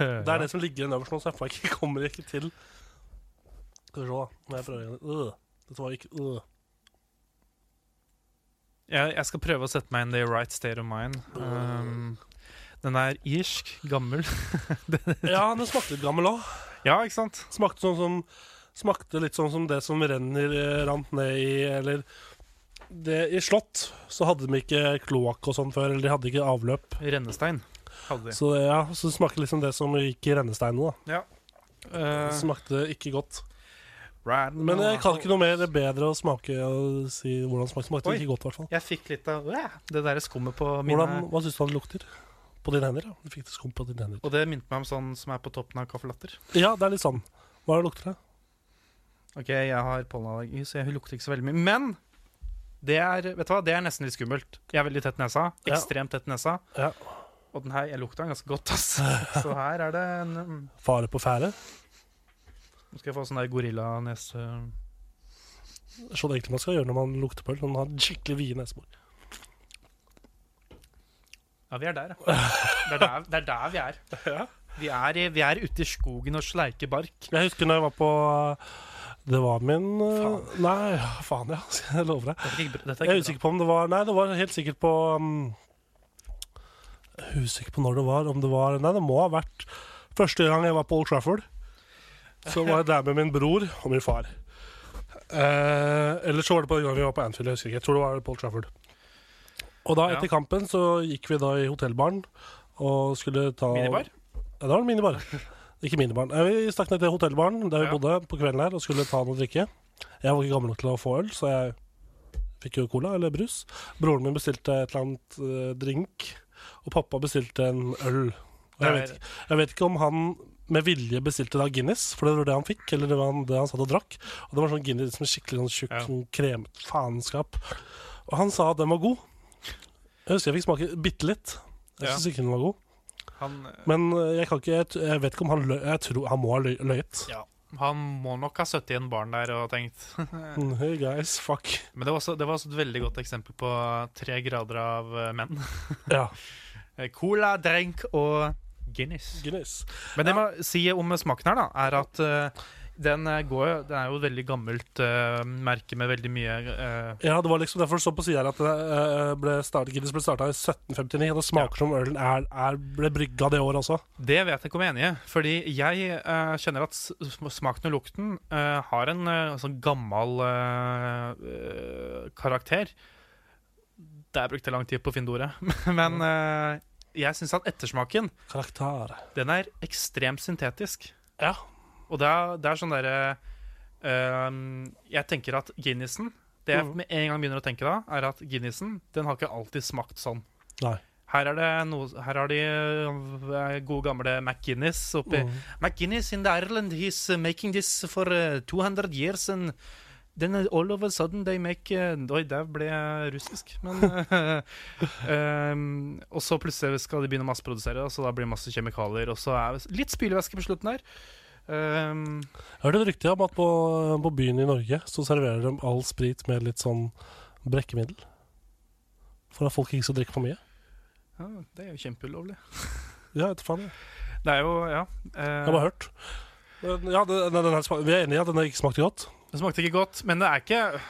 S2: Det er det som ligger igjen øverst nå, så jeg får ikke, kommer ikke til Skal vi se, da. Må jeg prøve igjen. Øh. Dette var ikke øh.
S3: Jeg, jeg skal prøve å sette meg inn i the right state of mind. Um, den er irsk, gammel.
S2: Ja, den smakte litt gammel òg.
S3: Ja, ikke sant?
S2: Smakte sånn som Smakte litt sånn som det som renner eh, rant ned i Eller det, I slott så hadde de ikke kloakk og sånn før, eller de hadde ikke avløp.
S3: Rennestein hadde de.
S2: Så det, ja, så det smaker liksom det som gikk i rennesteinene, da. Det
S3: Uh,
S2: smakte ikke godt. eh,
S3: Eh,
S2: Men jeg kan ikke noe mer eller bedre å smake og si hvordan det smakte. Smakte
S3: Oi.
S2: ikke godt, i hvert fall.
S3: Jeg fikk litt av øh, det der skummet på mine
S2: Hvordan, hva syns du det lukter? På dine hender? ja? Du fikk det skum på dine hender.
S3: Og det minte meg om sånn som er på toppen av kaffelatter.
S2: Ja, det er litt sånn. Hva er det lukter det?
S3: Ok, jeg har pollenallergi, så jeg lukter ikke så veldig mye. Men det er, vet du hva? det er nesten litt skummelt. Jeg er veldig tett nesa.
S2: Ja.
S3: Ekstremt tett nesa.
S2: Ja.
S3: Og den her, jeg lukta den ganske godt, ass. Så her er det en mm,
S2: Fare på ferde?
S3: Nå skal jeg få sånn der gorillanese...
S2: Sånn egentlig man skal gjøre når man lukter på øl. Sånn ha skikkelig vide nesebor.
S3: Ja, vi er der, ja. Det er der, det er der vi er. Vi er, i, vi er ute i skogen og sleiker bark.
S2: Jeg husker når jeg var på eh, Det var min faen. Nei, faen, ja. Skal jeg love deg.
S3: Dette er ikke, bra- dette
S2: Jeg er
S3: er ikke bra.
S2: usikker på om det var Nei, det var helt sikkert på um, Jeg er usikker på når det var. Om det var Nei, det må ha vært første gang jeg var på Old Trafford. Så var jeg der med min bror og min far. Eh, Eller så var det på den gangen vi var på Anfield. Jeg husker ikke. Jeg tror det var på Old Trafford. Og da,
S3: Ja.
S2: etter kampen, så gikk vi da i hotellbaren og skulle ta
S3: Minibar?
S2: Ja, det var en minibar. Ikke minibar. Nei, Vi stakk ned til hotellbaren der vi
S3: Ja.
S2: bodde på kvelden her og skulle ta noe å drikke. Jeg var ikke gammel nok til å få øl, så jeg fikk jo cola eller brus. Broren min bestilte et eller annet eh, drink, og pappa bestilte en øl. Og jeg,
S3: Det er-
S2: vet, ikke- jeg vet ikke om han med vilje bestilte da Guinness, for det var det han fikk. Eller det var han, det han satt og drakk. Og det var sånn Guinness med skikkelig sånn tjukk
S3: Ja.
S2: sånn kremet faenskap. Og han sa at den var god. Jeg husker jeg fikk smake bitte litt. Jeg
S3: Ja.
S2: syns ikke den var god.
S3: Han,
S2: Men eh, jeg kan ikke Jeg, t- jeg vet ikke om han løy Jeg tror han må ha løy- løyet.
S3: ja, han må nok ha sittet i en barn der og tenkt
S2: Mm, Hey guys, fuck.
S3: Men det var, også, det var også et veldig godt eksempel på tre grader av eh, menn.
S2: Ja,
S3: Eh, Cola, drink og Guinness.
S2: Guinness.
S3: Men det jeg må si om smaken her, da, er at eh, den, eh, går, jo- den er jo et veldig gammelt eh, merke med veldig mye eh,
S2: Ja, det var liksom derfor det står på sida her at det eh, ble startet, Guinness ble starta i 1759. Og det smaker som ølen er, er, ble brygga det året også.
S3: Det vet jeg ikke om jeg er enig i. Fordi jeg eh, kjenner at s- sm- smaken og lukten eh, har en eh, sånn gammel eh, eh, karakter. Der brukte jeg lang tid på å finne ordet. Men eh, jeg syns at ettersmaken,
S2: Karakter.
S3: den er ekstremt syntetisk.
S2: Ja.
S3: Og det er, det er sånn derre ehm, Jeg tenker at Guinnessen Det jeg
S2: Mhm.
S3: med en gang begynner å tenke da, er at Guinnessen den har ikke alltid smakt sånn.
S2: Nei.
S3: Her, er det noe, her har de eh, gode gamle McGuinness oppi
S2: Mm.
S3: uh, McGuinness in the Ireland, he's making this for eh, 200 uh, years and Then uh, all of a sudden they make uh, Oi, der ble jeg russisk. Men eh, ehm, Og så plutselig skal de begynne å masseprodusere, da, så da blir det masse kjemikalier. Og så er det litt spylevæske på slutten der. Ehm,
S2: Jeg hørte et rykte om at på, på byen i Norge så serverer de all sprit med litt sånn brekkemiddel. For at folk ikke skal drikke for mye.
S3: ja, det er jo kjempeulovlig.
S2: Ja, vet du faen. jeg.
S3: Det er jo Ja.
S2: Jeg
S3: eh,
S2: har bare hørt. Men Ja, den, den, den her, sma- vi er enige i at den ikke smakte godt.
S3: Det smakte ikke godt, men det er ikke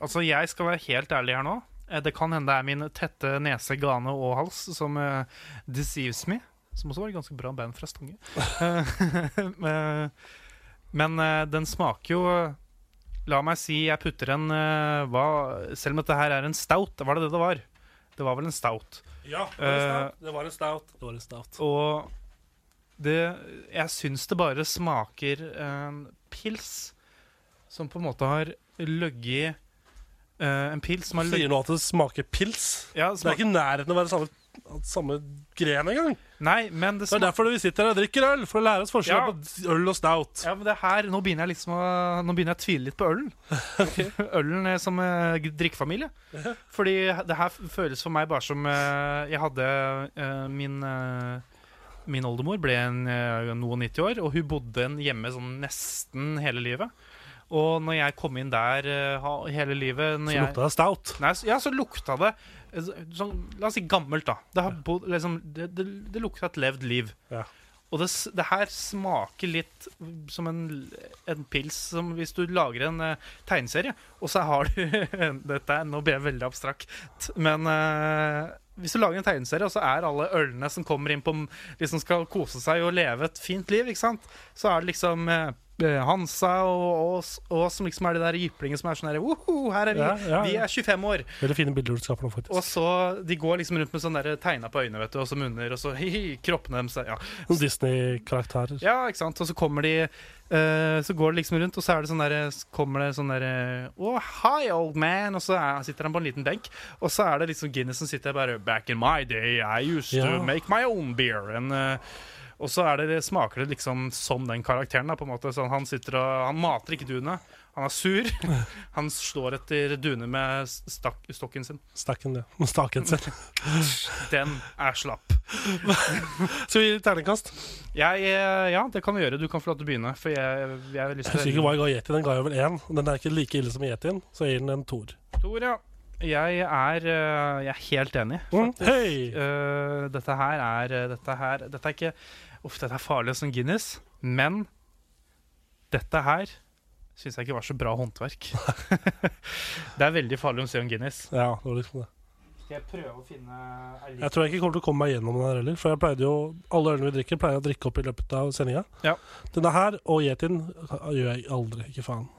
S3: Altså, jeg skal være helt ærlig her nå. Eh, Det kan hende det er min tette nese, gane og hals som eh, deceives me. Som også var et ganske bra band fra Stange. Eh, eh, men eh, den smaker jo La meg si jeg putter en eh, hva, Selv om dette her er en stout, var det det det var? Det var vel en stout.
S2: Ja,
S3: var
S2: det var en stout. Det var en stout.
S3: Eh, Og det Jeg syns det bare smaker en pils som på en måte har ligget eh, En pils som har
S2: Sier
S3: ligget
S2: nå at det smaker pils.
S3: ja,
S2: Det er
S3: smak,
S2: ikke i nærheten av å være samme, samme greien engang.
S3: Nei, men det
S2: Det er
S3: smaker
S2: derfor vi sitter her og drikker øl, for å lære oss forskjell
S3: Ja.
S2: på øl og stout.
S3: ja, men det her, nå begynner jeg liksom å, Nå begynner jeg å tvile litt på ølen. ølen eh, som eh, drikkefamilie. Fordi det her føles for meg bare som eh, Jeg hadde eh, min eh, Min oldemor ble en, eh, noen 90 år, og hun bodde en hjemme sånn nesten hele livet. Og når jeg kom inn der eh, ha- hele livet når
S2: Så
S3: jeg,
S2: lukta det stout.
S3: Nei, så, ja, så lukta det eh, så- sånn, La oss si gammelt, da. Det, har bodd, liksom, det, det, det lukta et levd liv.
S2: Ja.
S3: Og det, s- det her smaker litt som en, en pils som hvis du lager en eh, tegneserie, og så har du Dette er, Nå ble jeg veldig abstrakt, men eh, hvis du lager en tegneserie, og så er alle ølene som kommer inn på m- De som skal kose seg og leve et fint liv, ikke sant, så er det liksom eh, Hansa og oss, og oss som liksom er de der jyplingene som er sånn her Woho, her er vi!
S2: Ja, ja,
S3: Vi
S2: ja.
S3: er 25 år!
S2: Veldig fine bilder du skaper nå, faktisk.
S3: Og så, De går liksom rundt med sånn der tegna på øynene vet du, og så munner, og så hi-hi, kroppene deres er- ja.
S2: Noen Disney-karakterer.
S3: ja, ikke sant. Og så kommer de eh, Så går de liksom rundt, og så er det sånn der, så kommer det sånn der Oh, hi, old man! Og så er, sitter han på en liten benk, og så er det liksom Guinness som sitter bare Back in my day, I used
S2: Ja.
S3: to make my own beer. And, eh, og så er det, det smaker det liksom som den karakteren. da, på en måte sånn, Han sitter og, han mater ikke duene. Han er sur. Han slår etter duene med stak, stokken sin.
S2: Stakken, ja. Staken sin.
S3: Den er slapp.
S2: Skal vi gi terningkast?
S3: Jeg, eh, ja, det kan vi gjøre. Du kan få lov til å begynne. For jeg, jeg har lyst
S2: Jeg husker
S3: til
S2: ikke hva jeg ga Yeti. Den ga jeg vel én. Den er ikke like ille som Yetien, så jeg gir den en toer.
S3: Tor, ja. Jeg er, eh, jeg er helt enig.
S2: Mm. Hei!
S3: Eh, dette her er eh, Dette her Dette er ikke Uff, dette er farlig som Guinness, men dette her syns jeg ikke var så bra håndverk. det er veldig farlig å se om Guinness.
S2: Ja, det var liksom det.
S3: Skal jeg prøve å finne
S2: Jeg tror jeg ikke kommer til å komme meg gjennom den her heller. For jeg pleide jo, alle ølene vi drikker, pleier jeg å drikke opp i løpet av sendinga.
S3: Ja.
S2: Denne her og Yetien gjør jeg aldri. Ikke faen.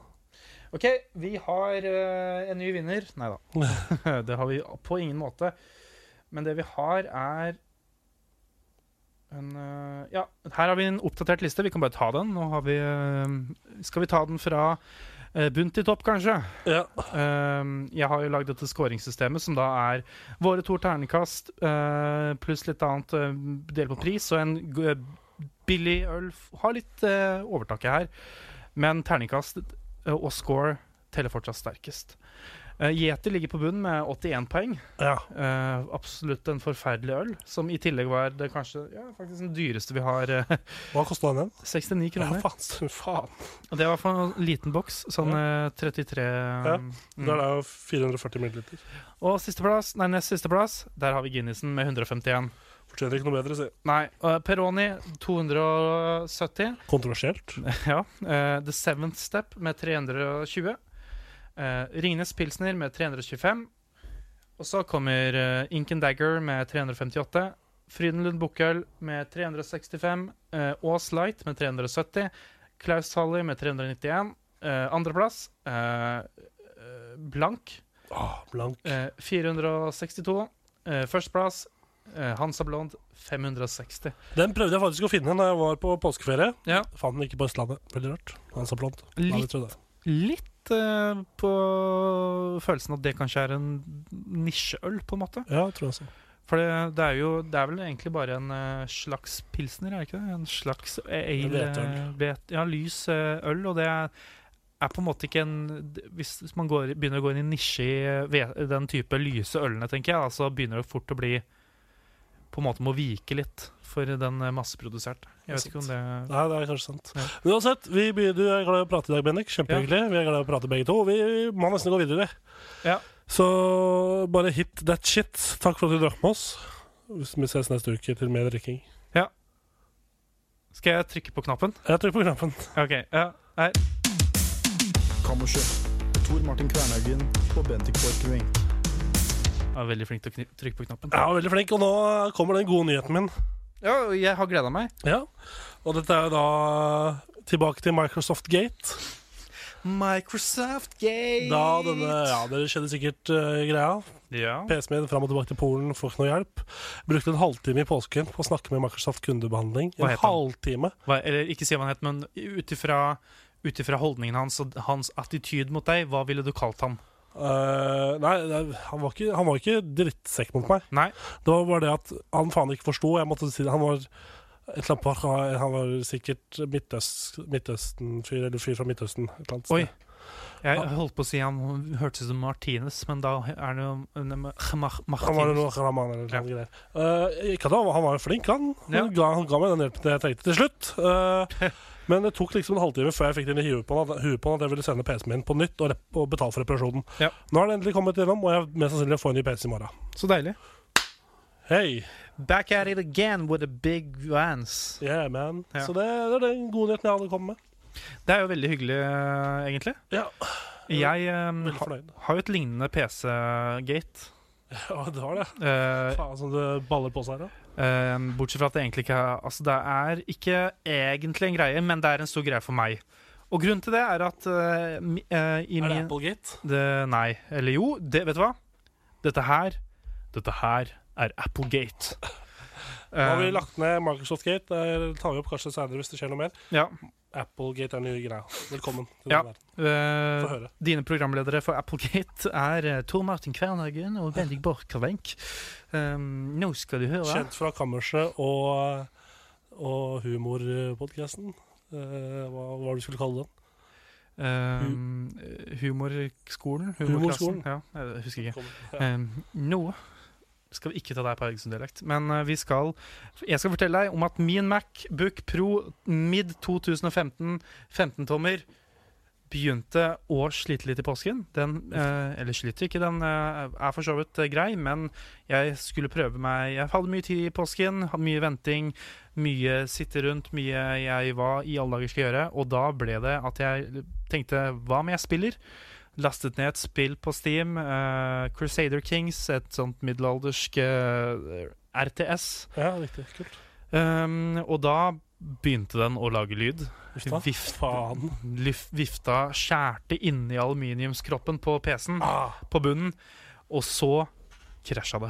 S3: OK, vi har eh, en ny vinner. Nei da. det har vi på ingen måte. Men det vi har, er en eh, Ja, her har vi en oppdatert liste. Vi kan bare ta den. Nå har vi eh, Skal vi ta den fra eh, bunn til topp, kanskje?
S2: Ja.
S3: Ehm, jeg har jo lagd dette skåringssystemet, som da er våre to ternekast eh, pluss litt annet uh, del på pris, og en g- eh, billig øl f- har litt eh, overtaket her. Men terningkast eh, og score teller fortsatt sterkest. Eh, Yeti ligger på bunnen med 81 poeng.
S2: ja.
S3: Eh, absolutt en forferdelig øl, som i tillegg var det kanskje ja, faktisk den dyreste vi har. eh,
S2: Hva kosta den igjen? Ja,
S3: 69 kroner.
S2: faen. så- faen.
S3: Og det var for en liten boks. Sånn eh, 33 mm.
S2: Da er det jo 440 milliliter.
S3: Og siste plass, nei, nest siste plass, der har vi Guinnessen med 151.
S2: Fortjener ikke noe bedre, si.
S3: Nei, uh, Peroni 270.
S2: Kontroversielt.
S3: ja. eh, The Seventh Step med 320. eh, Ringnes Pilsner med 325. Og så kommer eh, Ink and Dagger med 358. Frydenlund Bukkøl med 365. eh, Aas Light med 370. Klaus Thaller med 391. eh, Andreplass eh, eh, Blank
S2: Åh, Ah, blank.
S3: Eh, 462. Eh, Førsteplass eh, Hansa Blond 560.
S2: Den prøvde jeg faktisk å finne da jeg var på påskeferie.
S3: Ja.
S2: Fant den ikke på Østlandet. Veldig rart. Han sa blond. Ja, det
S3: Litt,
S2: trodde jeg.
S3: litt eh, på følelsen at det kanskje er en nisjeøl, på en måte.
S2: Ja, jeg tror jeg så.
S3: For det, det er jo Det er vel egentlig bare en eh, slags pilsner, er det ikke det? En slags eh, ale
S2: Hvetøl.
S3: eh, hvet- Ja, lys eh, øl, og det er er på en måte ikke en Hvis hvis man går, begynner å gå inn i nisje i ve- den type lyse ølene, tenker jeg, da, så begynner det fort å bli På en måte må vike litt for den eh, masseproduserte. Jeg vet ikke om det
S2: Nei, det er kanskje sant.
S3: Ja.
S2: Men uansett, vi begynner, du er glad i å prate i dag, Bennik. Kjempehyggelig. Vi er glad i å prate begge to. Vi må nesten gå videre.
S3: Ja.
S2: Så bare hit that shit. Takk for at du drakk med oss. Vi ses neste uke til mer drikking.
S3: Skal jeg trykke på knappen?
S2: Jeg trykker på knappen.
S3: OK. Ja. Her.
S5: Kammerset. Tor Martin Kvernhaugen og Bendik Borch Grevink.
S3: Jeg var veldig flink til å kni- trykke på knappen.
S2: Ja, veldig flink. Og nå kommer den gode nyheten min.
S3: Ja, og jeg har gleda meg.
S2: Ja. Og dette er jo da tilbake til Microsoft Gate.
S3: Microsoft Gate.
S2: Da denne Ja, dere kjenner sikkert eh, greia.
S3: ja.
S2: PC-en min fram og tilbake til Polen, får ikke noe hjelp. Brukte en halvtime i påsken på å snakke med Microsoft kundebehandling.
S3: Hva
S2: En
S3: het han?
S2: halvtime.
S3: hva, eller ikke si hva han het, men ut ifra ut ifra holdningen hans og hans attityd mot deg, hva ville du kalt ham?
S2: Eh, nei, det er- han var ikke, han var ikke drittsekk mot meg.
S3: Nei.
S2: Det var bare det at han faen ikke forsto. Jeg måtte si det. Han var et eller annet par, Han var sikkert Midtøst, Midtøsten-fyr, eller fyr fra Midtøsten. Et eller annet sted.
S3: Oi.
S2: Ah.
S3: Jeg holdt på å si han hørtes ut som Martinez, men da er det jo en- en- Mar-
S2: Han var jo
S3: Martinez.
S2: noe Rahman eller noe greier. Eh, ikke at han, var- han var jo flink, han. Han,
S3: Ja.
S2: ga, han ga meg den hjelpen jeg trengte til slutt. Eh, men det tok liksom en halvtime før jeg fikk det inn i huet på han at- huet på han at jeg ville sende PC-en min på nytt og, rep og betale for reparasjonen.
S3: Ja.
S2: Nå har den endelig kommet gjennom, og jeg mest sannsynlig får en ny PC i morgen.
S3: Så deilig.
S2: Hei!
S3: Back at it again with a big vans.
S2: Yeah, man.
S3: Ja.
S2: Så det, det er den gode nyheten jeg hadde å komme med.
S3: Det er jo veldig hyggelig, eh, egentlig.
S2: Ja.
S3: Jeg eh,
S2: Veldig
S3: ha,
S2: fornøyd.
S3: har jo et lignende PC-gate.
S2: Ja, det var det.
S3: Eh,
S2: Faen som det baller på seg her, da.
S3: Eh, bortsett fra at det egentlig ikke Altså, det er ikke egentlig en greie, men det er en stor greie for meg. Og grunnen til det er at eh, mi- eh, i
S2: Er det
S3: min
S2: Applegate?
S3: det, Nei. Eller jo, det, vet du hva? Dette her Dette her er Applegate.
S2: Nå har
S3: Eh,
S2: vi lagt ned Microsoft Gate. Det tar vi opp kanskje senere hvis det skjer noe mer.
S3: ja,
S2: Applegate er den nye greia. Velkommen til
S3: Ja.
S2: den verden.
S3: eh,
S2: Få høre.
S3: dine programledere for Applegate er eh, Tor Martin Kvernhagen og Bendik Borchgrevink. Eh, nå skal du høre
S2: Kjent fra Kammerset og, og humorpodkasten. Eh, hva var det du skulle kalle den?
S3: eh, Humorskolen? Humorklassen,
S2: Humorskolen.
S3: Ja, jeg husker ikke.
S2: Kommer-
S3: Eh, nå skal vi ikke ta deg på Haugesund-dialekt, men eh, vi skal Jeg skal fortelle deg om at min Macbook Pro mid 2015, 15-tommer, begynte å slite litt i påsken. Den eh, Eller sliter ikke, den eh, er for så vidt eh, grei, men jeg skulle prøve meg Jeg hadde mye tid i påsken, hadde mye venting, mye sitte rundt, mye jeg hva i alle dager skal gjøre, og da ble det at jeg tenkte Hva om jeg spiller? lastet ned et spill på Steam. eh, Crusader Kings, et sånt middelaldersk eh, RTS.
S2: Ja, riktig. Kult.
S3: Um, og da begynte den å lage lyd.
S2: Uff da.
S3: Vift-
S2: Faen.
S3: Lyf, vifta skjærte inni aluminiumskroppen på PC-en,
S2: Ah.
S3: på bunnen, og så krasja det.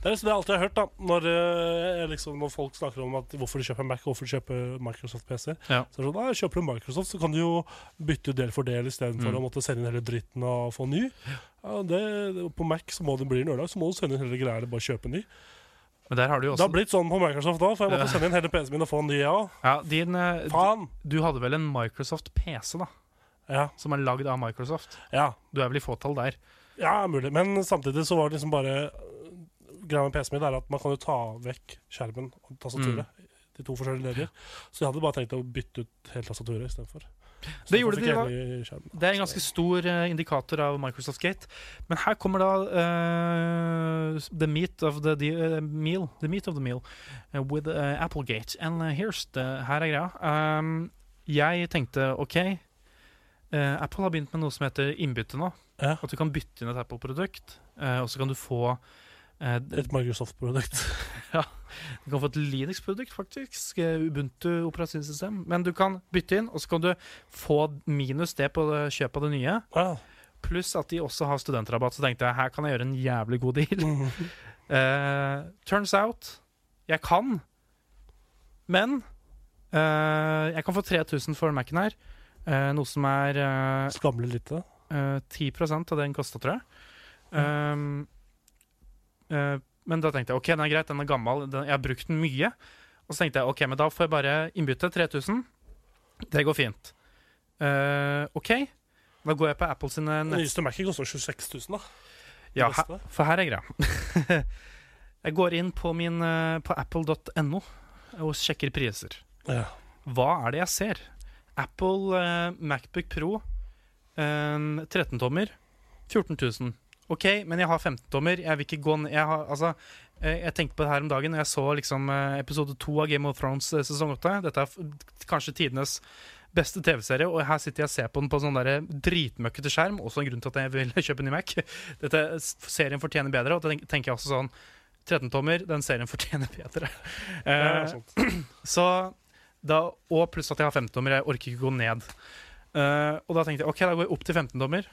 S2: Det er liksom det jeg alltid har hørt, da. Når, eh, liksom, når folk snakker om at hvorfor de kjøper en Mac og hvorfor de kjøper Microsoft-PC.
S3: Ja.
S2: Så er det sånn, «Nei, Kjøper du Microsoft, så kan du jo bytte ut del for del istedenfor
S3: Mm.
S2: å måtte sende inn hele dritten og få ny. Ja, det, det- på Mac så må det bli en ørdag, så må du sende inn hele greia eller bare kjøpe en ny.
S3: Men der har du jo
S2: Det har
S3: også
S2: blitt sånn på Microsoft da, for jeg måtte sende inn hele PC-en min og få en ny, jeg òg.
S3: ja, din, eh,
S2: Faen!
S3: Du hadde vel en Microsoft PC, da,
S2: Ja,
S3: som er lagd av Microsoft?
S2: ja.
S3: Du er vel i fåtall der?
S2: Ja, mulig. Men samtidig så var det liksom bare Greia med PC-en min er at man kan jo ta vekk skjermen og tastaturet.
S3: Mm.
S2: De to forskjellige leder. Så jeg hadde bare tenkt å bytte ut hele tastaturet istedenfor.
S3: Det gjorde de, da.
S2: da.
S3: Det er en ganske stor eh, indikator av Microsoft Gate. Men her kommer da eh, The meat of the, the eh, meal. The meat of the meal eh, with eh, Applegate. And eh, here's the Her er greia. Um, jeg tenkte OK eh, Apple har begynt med noe som heter innbytte nå.
S2: Ja.
S3: At du kan bytte inn et Apple-produkt, eh, og så kan du få eh,
S2: Et Microsoft-produkt.
S3: du kan få et Linux-produkt, faktisk. eh, Ubuntu operasjonssystem. Men du kan bytte inn, og så kan du få minus det på eh, kjøp av det nye.
S2: Ja.
S3: Pluss at de også har studentrabatt, så tenkte jeg her kan jeg gjøre en jævlig god deal. Eh, turns out jeg kan, men eh, jeg kan få 3000 for Mac-en her. eh, noe som er eh,
S2: Skamlig lite.
S3: eh, 10 av det den kosta, tror jeg. Um, eh, men da tenkte jeg ok, den er greit, den er gammel, den, jeg har brukt den mye. Og så tenkte jeg ok, men da får jeg bare innbytte 3000. Det går fint. Eh, ok. Da går jeg på Apple sine
S2: Den
S3: nett...
S2: nyeste Mac-en koster 26 000, da.
S3: Ja,
S2: Det
S3: he-
S2: beste.
S3: for her er greia. jeg går inn på, min, eh, på apple.no og sjekker priser.
S2: Ja.
S3: Hva er det jeg ser? Apple eh, Macbook Pro eh, 13-tommer 14 000. OK, men jeg har 15-tommer. Jeg vil ikke gå ned jeg, har, altså, eh, jeg tenkte på det her om dagen, og jeg så liksom eh, episode to av Game of Thrones eh, sesong 8. Dette er f kanskje tidenes beste TV-serie, og her sitter jeg og ser på den på sånn der dritmøkkete skjerm. Også en grunn til at jeg vil kjøpe en ny Mac. Dette Serien fortjener bedre, og da tenk- tenker jeg også sånn 13-tommer, den serien fortjener bedre.
S2: Ja, sånn.
S3: Eh,
S2: sant.
S3: så da, og pluss at jeg har 15-dommer. Jeg orker ikke gå ned. Eh, og da tenkte jeg ok, da går jeg opp til 15-dommer.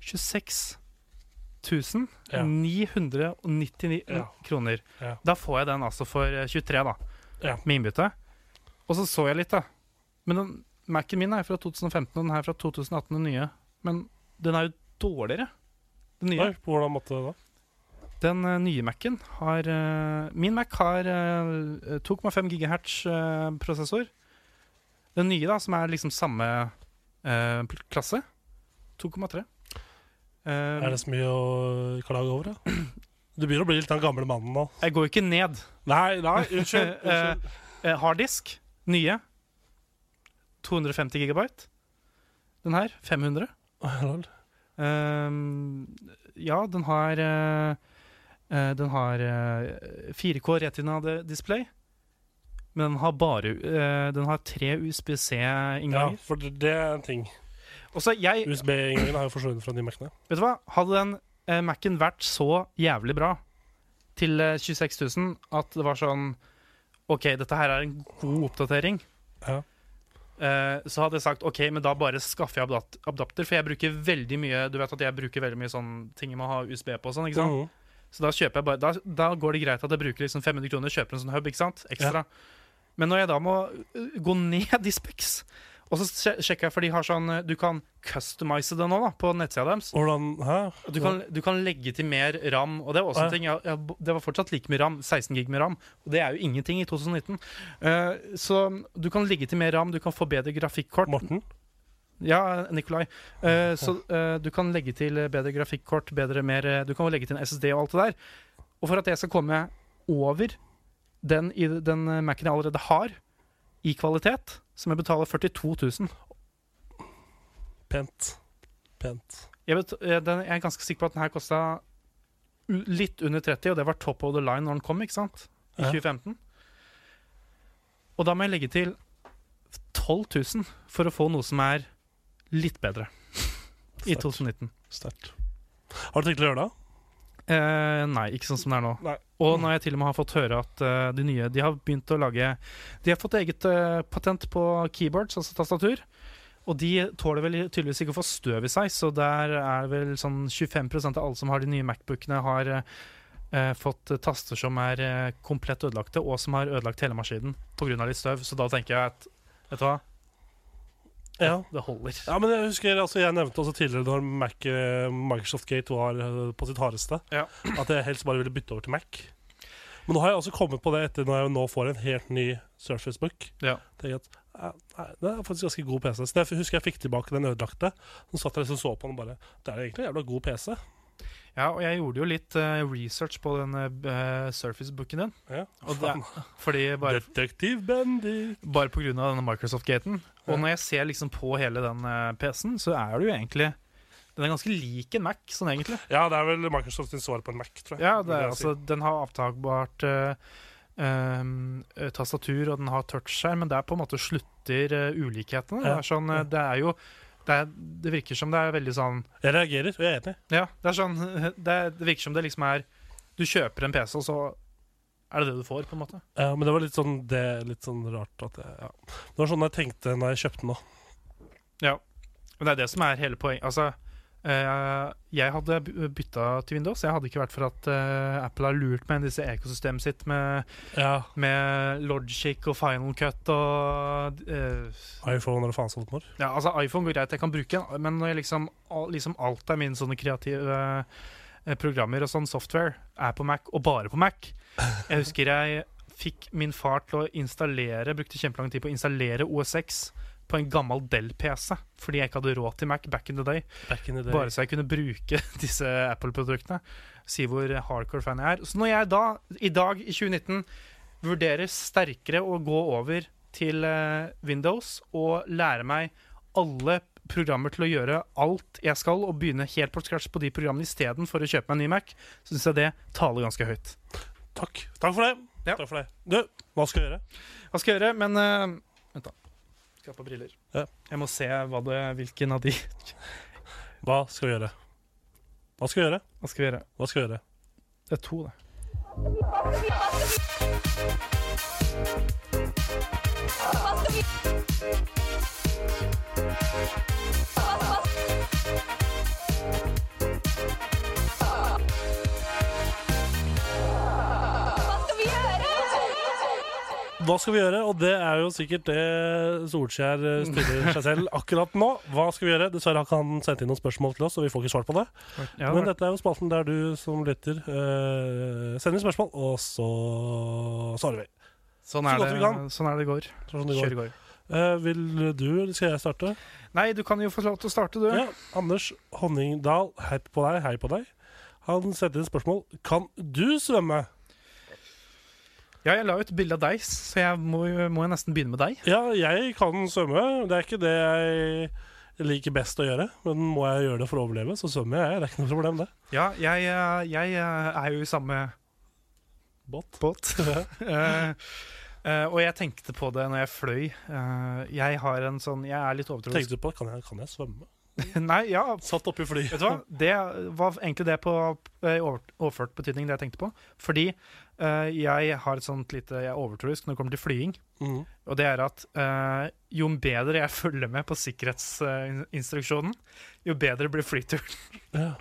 S3: 26
S2: Ja.
S3: 999
S2: Ja.
S3: kroner.
S2: Ja.
S3: Da får jeg den altså for eh, 23, da.
S2: Ja.
S3: Med innbytte. Og så så jeg litt, da. Men den Mac-en min er fra 2015, og den her er fra 2018, den nye. Men den er jo dårligere. Den nye.
S2: Oi, på hvordan måte da?
S3: Den eh, nye Mac-en har eh, Min Mac har eh, 2,5 GHz-prosessor. eh, den nye, da, som er liksom samme eh, pl- klasse, 2,3.
S2: Er
S3: Eh,
S2: det så mye å klage over, ja? Du begynner å bli litt den gamle mannen nå.
S3: jeg går jo ikke ned.
S2: Nei, nei, unnskyld. unnskyld.
S3: Eh, harddisk, nye. 250 gigabyte. Den her, 500.
S2: Lol.
S3: Ehm, ja, den har eh, eh, Den har eh, 4K Retina de- display. Men den har bare eh, Den har tre
S2: ja,
S3: USBC-innganger.
S2: for det er en ting.
S3: Og så jeg
S2: USB-inngangen har jo forsvunnet fra de Mac-ene.
S3: Vet du hva? Hadde den eh, Mac-en vært så jævlig bra til eh, 26 000 at det var sånn OK, dette her er en god oppdatering.
S2: Ja.
S3: Eh, så hadde jeg sagt OK, men da bare skaffer jeg abdat- adapter. For jeg bruker veldig mye Du vet at jeg bruker veldig mye sånn ting jeg må ha USB på og sånn. ikke sant?
S2: Mhm.
S3: Så da kjøper jeg bare Da, da går det greit at jeg bruker liksom 500 kroner kjøper en sånn hub, ikke sant? Ekstra. Men når jeg da må øh, gå ned i Specs Og så sj- sjekker jeg, for de har sånn øh, Du kan customize det nå, da, på nettsida deres.
S2: Hvordan Hæ?
S3: Du kan, du kan legge til mer ram, og det var også
S2: Ja.
S3: en ting. Jeg, jeg, det var fortsatt like mye ram, 16 gig med ram, og det er jo ingenting i 2019. Eh, så du kan legge til mer ram, du kan få bedre grafikkort.
S2: Morten?
S3: Ja, Nikolai. Eh, så eh, du kan legge til bedre grafikkort, bedre mer eh, Du kan jo legge til en SSD og alt det der. Og for at jeg skal komme over den, i den eh, Mac-en jeg allerede har, i kvalitet, som jeg betaler 42 000
S2: Pent. Pent.
S3: Jeg, bet, eh, den, jeg er ganske sikker på at den her kosta u- litt under 30, og det var top of the line når den kom, ikke sant? I
S2: Ja.
S3: 2015. Og da må jeg legge til 12 000 for å få noe som er litt bedre i
S2: Sterkt.
S3: 2019.
S2: Sterkt. Har du tenkt å gjøre det?
S3: Eh, nei, ikke sånn som det er nå.
S2: Nei. Mm.
S3: Og når jeg til og med har fått høre at eh, de nye De har begynt å lage De har fått eget eh, patent på keyboards, altså tastatur. Og de tåler vel tydeligvis ikke å få støv i seg, så der er vel sånn 25 av alle som har de nye Macbookene, har eh, eh, fått eh, taster som er eh, komplett ødelagte, og som har ødelagt hele maskinen pga. litt støv. Så da tenker jeg at Vet du hva,
S2: Ja.
S3: det holder.
S2: Ja, men jeg husker, altså jeg nevnte også tidligere når Mac, eh, Microsoft Gate var eh, på sitt hardeste,
S3: Ja.
S2: at jeg helst bare ville bytte over til Mac. Men nå har jeg også kommet på det etter når jeg nå får en helt ny Surface Book.
S3: Ja.
S2: Tenker jeg at eh, nei, Det er faktisk ganske god PC. Så jeg husker jeg fikk tilbake den ødelagte. Så satt jeg liksom og så på den og bare Det er egentlig en jævla god PC.
S3: Ja, og jeg gjorde jo litt eh, research på den uh, Surface-booken din,
S2: Ja.
S3: og det, fordi bare
S2: Detektiv Bendik.
S3: Bare pga. denne Microsoft-gaten.
S2: Ja.
S3: Og når jeg ser liksom på hele den eh, PC-en, så er det jo egentlig Den er ganske lik en Mac, sånn egentlig.
S2: Ja, det er vel Microsoft sin svar på en Mac, tror jeg.
S3: Ja, det er,
S2: vil jeg si.
S3: altså, Den har avtagbart eh, ehm, eh, tastatur, og den har touchskjerm, men der på en måte slutter eh, ulikhetene. Det
S2: Ja.
S3: er sånn, eh,
S2: Ja.
S3: det er jo det, er, det virker som det er veldig sånn
S2: Jeg reagerer, og jeg er enig.
S3: Ja, det er sånn Det, det virker som det liksom er Du kjøper en PC, og så er det det du får, på en måte.
S2: Ja, men det var litt sånn, det, er litt sånn rart at jeg ja. Det var sånn jeg tenkte når jeg kjøpte den òg.
S3: Ja, men det er det som er hele poenget. Altså, eh, jeg hadde by- bytta til Windows. Jeg hadde ikke vært for at eh, Apple har lurt meg inn i disse ekosystemene sitt med,
S2: Ja.
S3: med Logic og Final Cut og eh,
S2: iPhone eller faen sånt når.
S3: Ja, altså iPhone går greit, jeg kan bruke den, men når jeg liksom, al- liksom alt er mine sånne kreative eh, programmer og sånn software er på Mac, og bare på Mac. Jeg husker jeg fikk min far til å installere, brukte kjempelang tid på å installere OSX på en gammel Del-PC fordi jeg ikke hadde råd til Mac back in the day.
S2: Back in the day.
S3: Bare så jeg kunne bruke disse Apple-produktene. Si hvor hardcore fan jeg er. Så når jeg da, i dag i 2019, vurderer sterkere å gå over til eh, Windows og lære meg alle programmer til å gjøre alt jeg skal, og begynne helt på scratch på de programmene istedenfor å kjøpe meg en ny Mac, syns jeg det taler ganske høyt.
S2: Takk. Takk for det.
S3: Ja.
S2: Takk for det. Du, hva skal jeg gjøre?
S3: Hva skal jeg gjøre? Men eh, Vent, da. Skal ha på briller.
S2: Ja.
S3: Jeg må se hva det, hvilken av de
S2: Hva skal vi gjøre? Hva skal vi gjøre?
S3: Hva skal vi gjøre?
S2: Hva skal vi gjøre?
S3: Det er to, det.
S2: Hva skal vi gjøre? Og det er jo sikkert det Solskjær eh, stiller seg selv akkurat nå. Hva skal vi gjøre? Dessverre har ikke han sendt inn noen spørsmål til oss, og vi får ikke svar på det.
S3: Ja,
S2: Men dette er jo spalten der du som lytter eh, sender spørsmål, og så svarer vi. så
S3: sånn, er
S2: godt vi
S3: det,
S2: kan.
S3: sånn er det går.
S2: Sånn det går.
S3: Kjør går.
S2: Eh, vil du Skal jeg starte?
S3: Nei, du kan jo få lov til å starte, du.
S2: Ja, Anders Honningdal, hei på deg. Hei på deg. Han sendte inn spørsmål. Kan du svømme?
S3: Ja, jeg la ut bilde av deg, så jeg må, jo- må jeg nesten begynne med deg.
S2: Ja, jeg kan svømme. Det er ikke det jeg liker best å gjøre. Men må jeg gjøre det for å overleve, så svømmer jeg. Det er ikke noe problem, det.
S3: Ja, jeg, eh, jeg eh, er jo i samme
S2: Båt.
S3: båt. Eh, eh, og jeg tenkte på det når jeg fløy. Eh, jeg har en sånn Jeg er litt overtroisk.
S2: Tenkte du på kan jeg, kan jeg svømme?
S3: Nei, ja,
S2: Satt oppi fly.
S3: Vet du hva? Det var egentlig det på eh, over- overført betydning det jeg tenkte på. Fordi eh, jeg har et sånt lite Jeg er overtroisk når det kommer til flying.
S2: Mm.
S3: Og det er at eh, jo bedre jeg følger med på sikkerhetsinstruksjonen, jo bedre blir flyturen.
S2: Ja.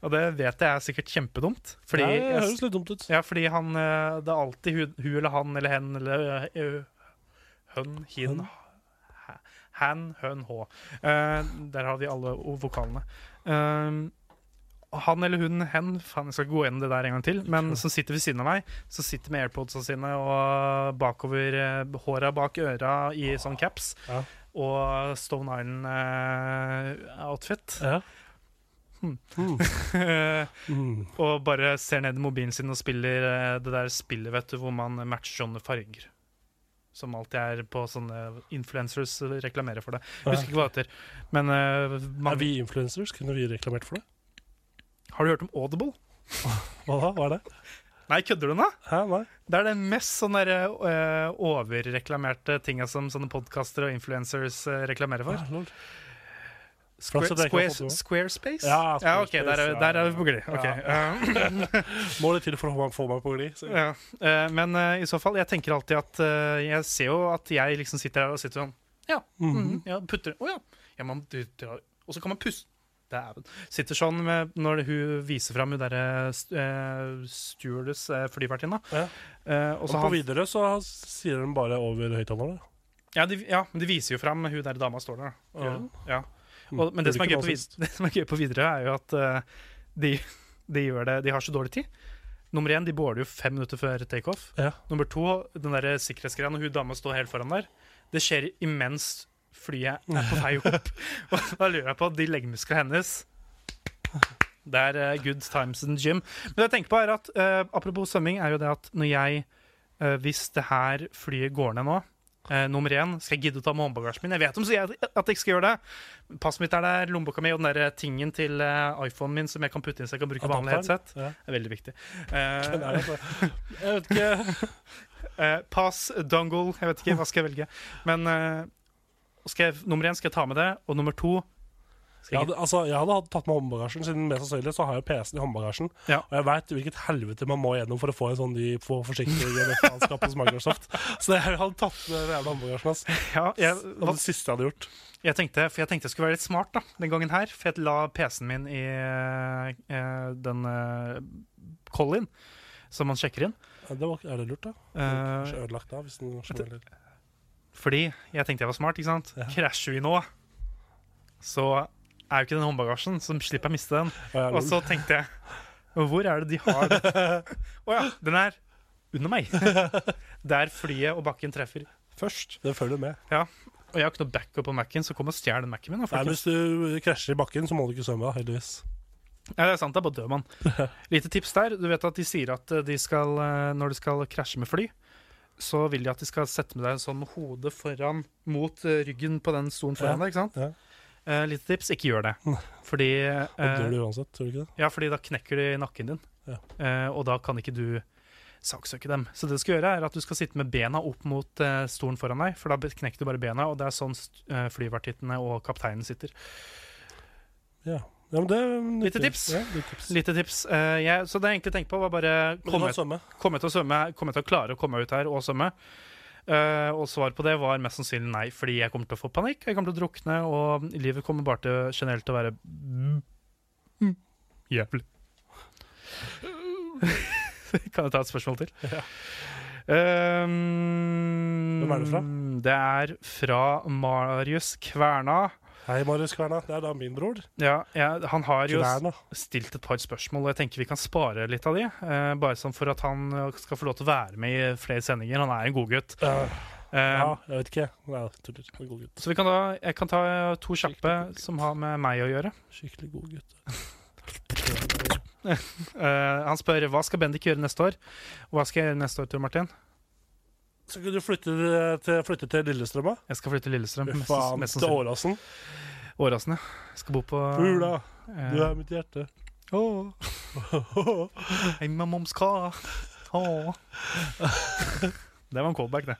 S3: Og det vet jeg er sikkert kjempedumt. Fordi,
S2: Nei, det
S3: jeg,
S2: høres litt dumt ut.
S3: ja, fordi han eh, Det er alltid hun, hun eller han eller hen eller eh, Hun, hin,
S2: Hun.
S3: hæ- han, hun, hå. Eh, der har vi alle o- vokalene. Eh, han eller hun, hen faen, Jeg skal ikke gå gjennom det der en gang til. Men som sitter ved siden av meg, som sitter med airpodsa sine og bakover eh, håra bak øra i sånn caps.
S2: Ja.
S3: Og Stone eh, Island-outfit.
S2: Ja.
S3: Hmm.
S2: Mm. Mm.
S3: og bare ser ned i mobilen sin og spiller eh, det der spillet, vet du, hvor man matcher sånne farger. Som alltid er på sånne influencers eh, reklamerer for det. Jeg husker ikke hva det heter. Men eh, man,
S2: Er vi influencers? Kunne vi reklamert for det?
S3: har du hørt om Audible?
S2: Hva da? Hva er det?
S3: Nei, kødder du nå?
S2: Hæ, nei?
S3: Det er den mest sånne der, eh, overreklamerte tinga som sånne podkaster og influencers eh, reklamerer for.
S2: Ah, lol. Flaks
S3: Square,
S2: at jeg ikke har fått det
S3: Square,
S2: med.
S3: Squarespace?
S2: Ja,
S3: ok,
S2: Squarespace,
S3: der er,
S2: ja,
S3: der er
S2: ja,
S3: vi på glid. Ok, eh,
S2: Må det til for å få meg- få meg på glid. så-
S3: Ja, eh, men eh, i så fall, jeg tenker alltid at eh, Jeg ser jo at jeg liksom sitter her og sitter sånn Ja, mm
S2: Mhm.
S3: ja putter Å ja. ja man, du, drar- og så kan man puste Dæven. Sitter sånn med, når hun viser fram hun derre uh, stewardess, eh, flyvertinna.
S2: Ja.
S3: Eh, og
S2: Og
S3: så
S2: på
S3: han-
S2: videre så sier de bare over høyttalerne.
S3: Ja, de, ja, men de viser jo fram hun der dama står der. da.
S2: Ja. Mm.
S3: Ja. Og, men det som, er gøy på, vid- det som er gøy på Widerøe, er jo at eh, de, de gjør det De har så dårlig tid. Nummer én, de border jo fem minutter før takeoff.
S2: Ja.
S3: Nummer to, den der sikkerhetsgreia når hun dama står helt foran der, det skjer imens flyet er på vei opp. Og da lurer jeg på de leggmusklene hennes Det er eh, good times in gym. Men det jeg tenker på er at eh, Apropos svømming, er jo det at når jeg eh, Hvis det her flyet går ned nå eh, nummer én, skal jeg gidde å ta med håndbagasjen min? Jeg vet om så jeg, at jeg ikke skal gjøre det. Passet mitt er der, lommeboka mi og den der tingen til eh, iPhonen min som jeg kan putte inn så jeg kan bruke vanlig headset.
S2: Ja.
S3: Det er veldig viktig. Eh,
S2: Den er det, Jeg vet ikke
S3: Eh, pass, dongle, jeg vet ikke, hva skal jeg velge? Men eh, skal jeg, nummer én skal jeg ta med det, og nummer to
S2: jeg
S3: skal jeg,
S2: hadde, altså, jeg hadde hatt- tatt med håndbagasjen, siden mest sannsynlig så har jeg PC-en i håndbagasjen.
S3: Ja.
S2: Og jeg veit hvilket helvete man må gjennom for å få en sånn de få forsiktige GDF-anskap hos Microsoft. Så jeg hadde tatt med den jævla håndbagasjen. Ass. Det
S3: ja, jeg,
S2: var det siste jeg hadde gjort.
S3: jeg, tenkte, for jeg tenkte jeg skulle være litt smart da, den gangen her, for jeg la PC-en min i eh, den uh, collien som man sjekker inn.
S2: Ja, Det var, er det lurt, da?
S3: Eh,
S2: Kanskje ødelagt da, hvis den var stor, eller-
S3: fordi jeg tenkte jeg var smart, ikke sant?
S2: Ja.
S3: Krasjer vi nå, så er jo ikke den håndbagasjen, så slipper jeg å miste den.
S2: Ja,
S3: Og så tenkte jeg Hvor er det de har det? Å ja, den er under meg. Der flyet og bakken treffer først.
S2: Det følger med.
S3: Og jeg har ikke noe backup på Mac-en, så kom og stjel den Mac-en min. da,
S2: Nei, men
S3: folkens.
S2: Hvis du krasjer i bakken, så må du ikke svømme, da, heldigvis.
S3: Ja, det er sant, det er bare dør man. Lite tips der. Du vet at de sier at eh, de skal, eh, når de skal krasje med fly, så vil de at de skal sette med deg sånn hodet foran mot eh, ryggen på den stolen foran
S2: Ja,
S3: deg, ikke sant?
S2: ja.
S3: Eh, lite tips, ikke gjør det. Fordi,
S2: Da
S3: eh,
S2: dør du uansett, tror du ikke det?
S3: ja, fordi da knekker de nakken din,
S2: Ja.
S3: eh, og da kan ikke du saksøke dem. Så det du skal gjøre, er at du skal sitte med bena opp mot eh, stolen foran deg, for da be- knekker du bare bena, og det er sånn st- eh, flyvertittene og kapteinen sitter.
S2: Ja. ja men det er
S3: Lite
S2: nyttig.
S3: tips.
S2: Ja, litt tips.
S3: Lite tips. Eh, jeg, så det jeg egentlig tenkte på, var bare
S2: Men du
S3: komme
S2: kan svømme.
S3: Kommer jeg til å svømme? Kommer jeg til å klare å komme meg ut her og svømme? Eh, og svar på det var mest sannsynlig nei, fordi jeg kommer til å få panikk, jeg kommer til å drukne, og livet kommer bare til generelt til å være mm, mm, jævlig. kan jeg ta et spørsmål til?
S2: Ja.
S3: Um,
S2: Hvem er det fra?
S3: Det er fra Marius Kverna.
S2: Hei, Marius Kverna. Det er da min bror.
S3: Ja, jeg- han har jo
S2: Kverna.
S3: stilt et par spørsmål, og jeg tenker vi kan spare litt av de. Eh, bare sånn for at han eh, skal få lov til å være med i flere sendinger. Han er en god gutt.
S2: Ja,
S3: Eh,
S2: ja, jeg vet ikke. Nei, jeg tuller. Han er en God gutt.
S3: Så vi kan da, jeg kan ta eh, to kjappe som har med meg å gjøre.
S2: Skikkelig god gutt.
S3: Eh, han spør hva skal Bendik gjøre neste år. Hva skal jeg gjøre neste år, Tor Martin?
S2: Skal ikke du flytte eh, til, flytte til Lillestrøm, da?
S3: Jeg skal flytte til Lillestrøm. mest-
S2: Faen,
S3: mest
S2: til
S3: sannsynlig.
S2: Åråsen.
S3: Åråsen, ja. Skal bo på
S2: Ula,
S3: eh,
S2: du er mitt hjerte.
S3: åh, hei, my mom's car. Åh. Det var en callback, det.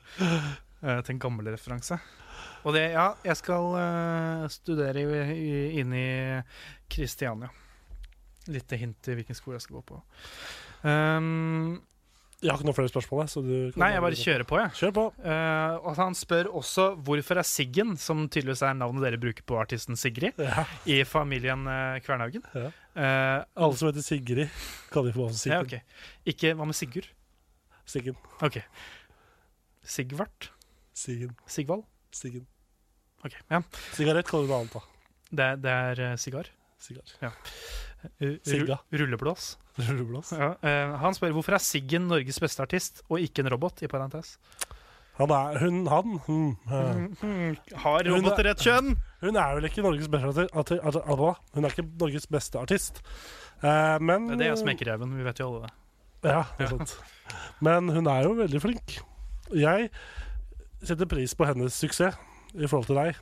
S3: Eh, til en gammel referanse. Og det, ja, jeg skal eh, studere i, i, inne i Kristiania. Litt hint til hvilken skole jeg skal gå på. Ehm,
S2: Jeg har ikke noen flere spørsmål, jeg. Så du kan
S3: nei, jeg bare kjører på, jeg.
S2: Kjør på.
S3: Eh, og han spør også hvorfor er Siggen, som tydeligvis er navnet dere bruker på artisten Sigrid,
S2: Ja.
S3: i familien eh, Kvernhaugen.
S2: Ja.
S3: Eh,
S2: Alle som heter Sigrid, kan de få bare
S3: ja,
S2: Siggen.
S3: ok. Ikke Hva med Sigurd?
S2: Siggen.
S3: OK. Sigvart?
S2: Siggen.
S3: Sigvald?
S2: Siggen.
S3: OK. Ja.
S2: Sigarett kaller du noe annet, da.
S3: Det, er- det er eh, sigar.
S2: Sigar.
S3: Ru-
S2: Sigga.
S3: Rulleblås.
S2: Rulleblås.
S3: Ja. eh, han spør hvorfor er Siggen Norges beste artist, og ikke en robot? i parentes.
S2: Han er Hun, han. Hun,
S3: Mhm.
S2: eh.
S3: Har roboter et kjønn?
S2: hun er vel ikke Norges beste arti- arti- arti- arti- Hun er ikke Norges beste artist. Eh, men
S3: Det er det jeg smekker reven. Vi vet jo alle det.
S2: Ja, det er sant. Men hun er jo veldig flink. Jeg setter pris på hennes suksess i forhold til deg.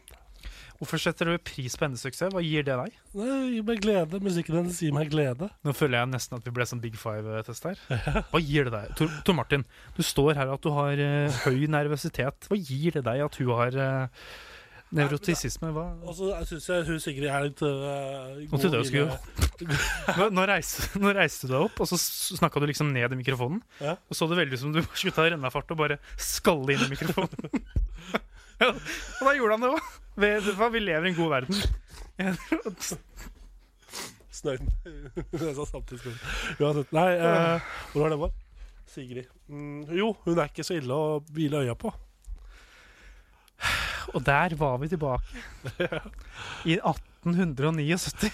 S3: Hvorfor setter du pris på hennes suksess? Hva gir det deg?
S2: Det gir meg glede. Musikken hennes gir meg glede.
S3: Nå føler jeg nesten at vi ble sånn Big Five-test her. Hva gir det deg? Tor, Tor Martin, du står her at du har eh, høy nervøsitet. Hva gir det deg at hun har uh, nevrotisisme? Hva?
S2: Og så syns jeg hun Sigrid er litt øh,
S3: Nå trodde jeg
S2: videre.
S3: jeg Nå, nå, reiste, nå reiste du deg opp, og så snakka du liksom ned i mikrofonen.
S2: Ja.
S3: Og så det veldig ut som du slutta å renne av fart og bare skalle inn i mikrofonen. ja, og da gjorde han det òg. Vi, vi lever i en god verden.
S2: Snøyd. Jeg sa samtidig skole. Uansett. Nei, eh, hvor var det var? Sigrid. Mm, jo, hun er ikke så ille å hvile øya på.
S3: Og der var vi tilbake. I 1879.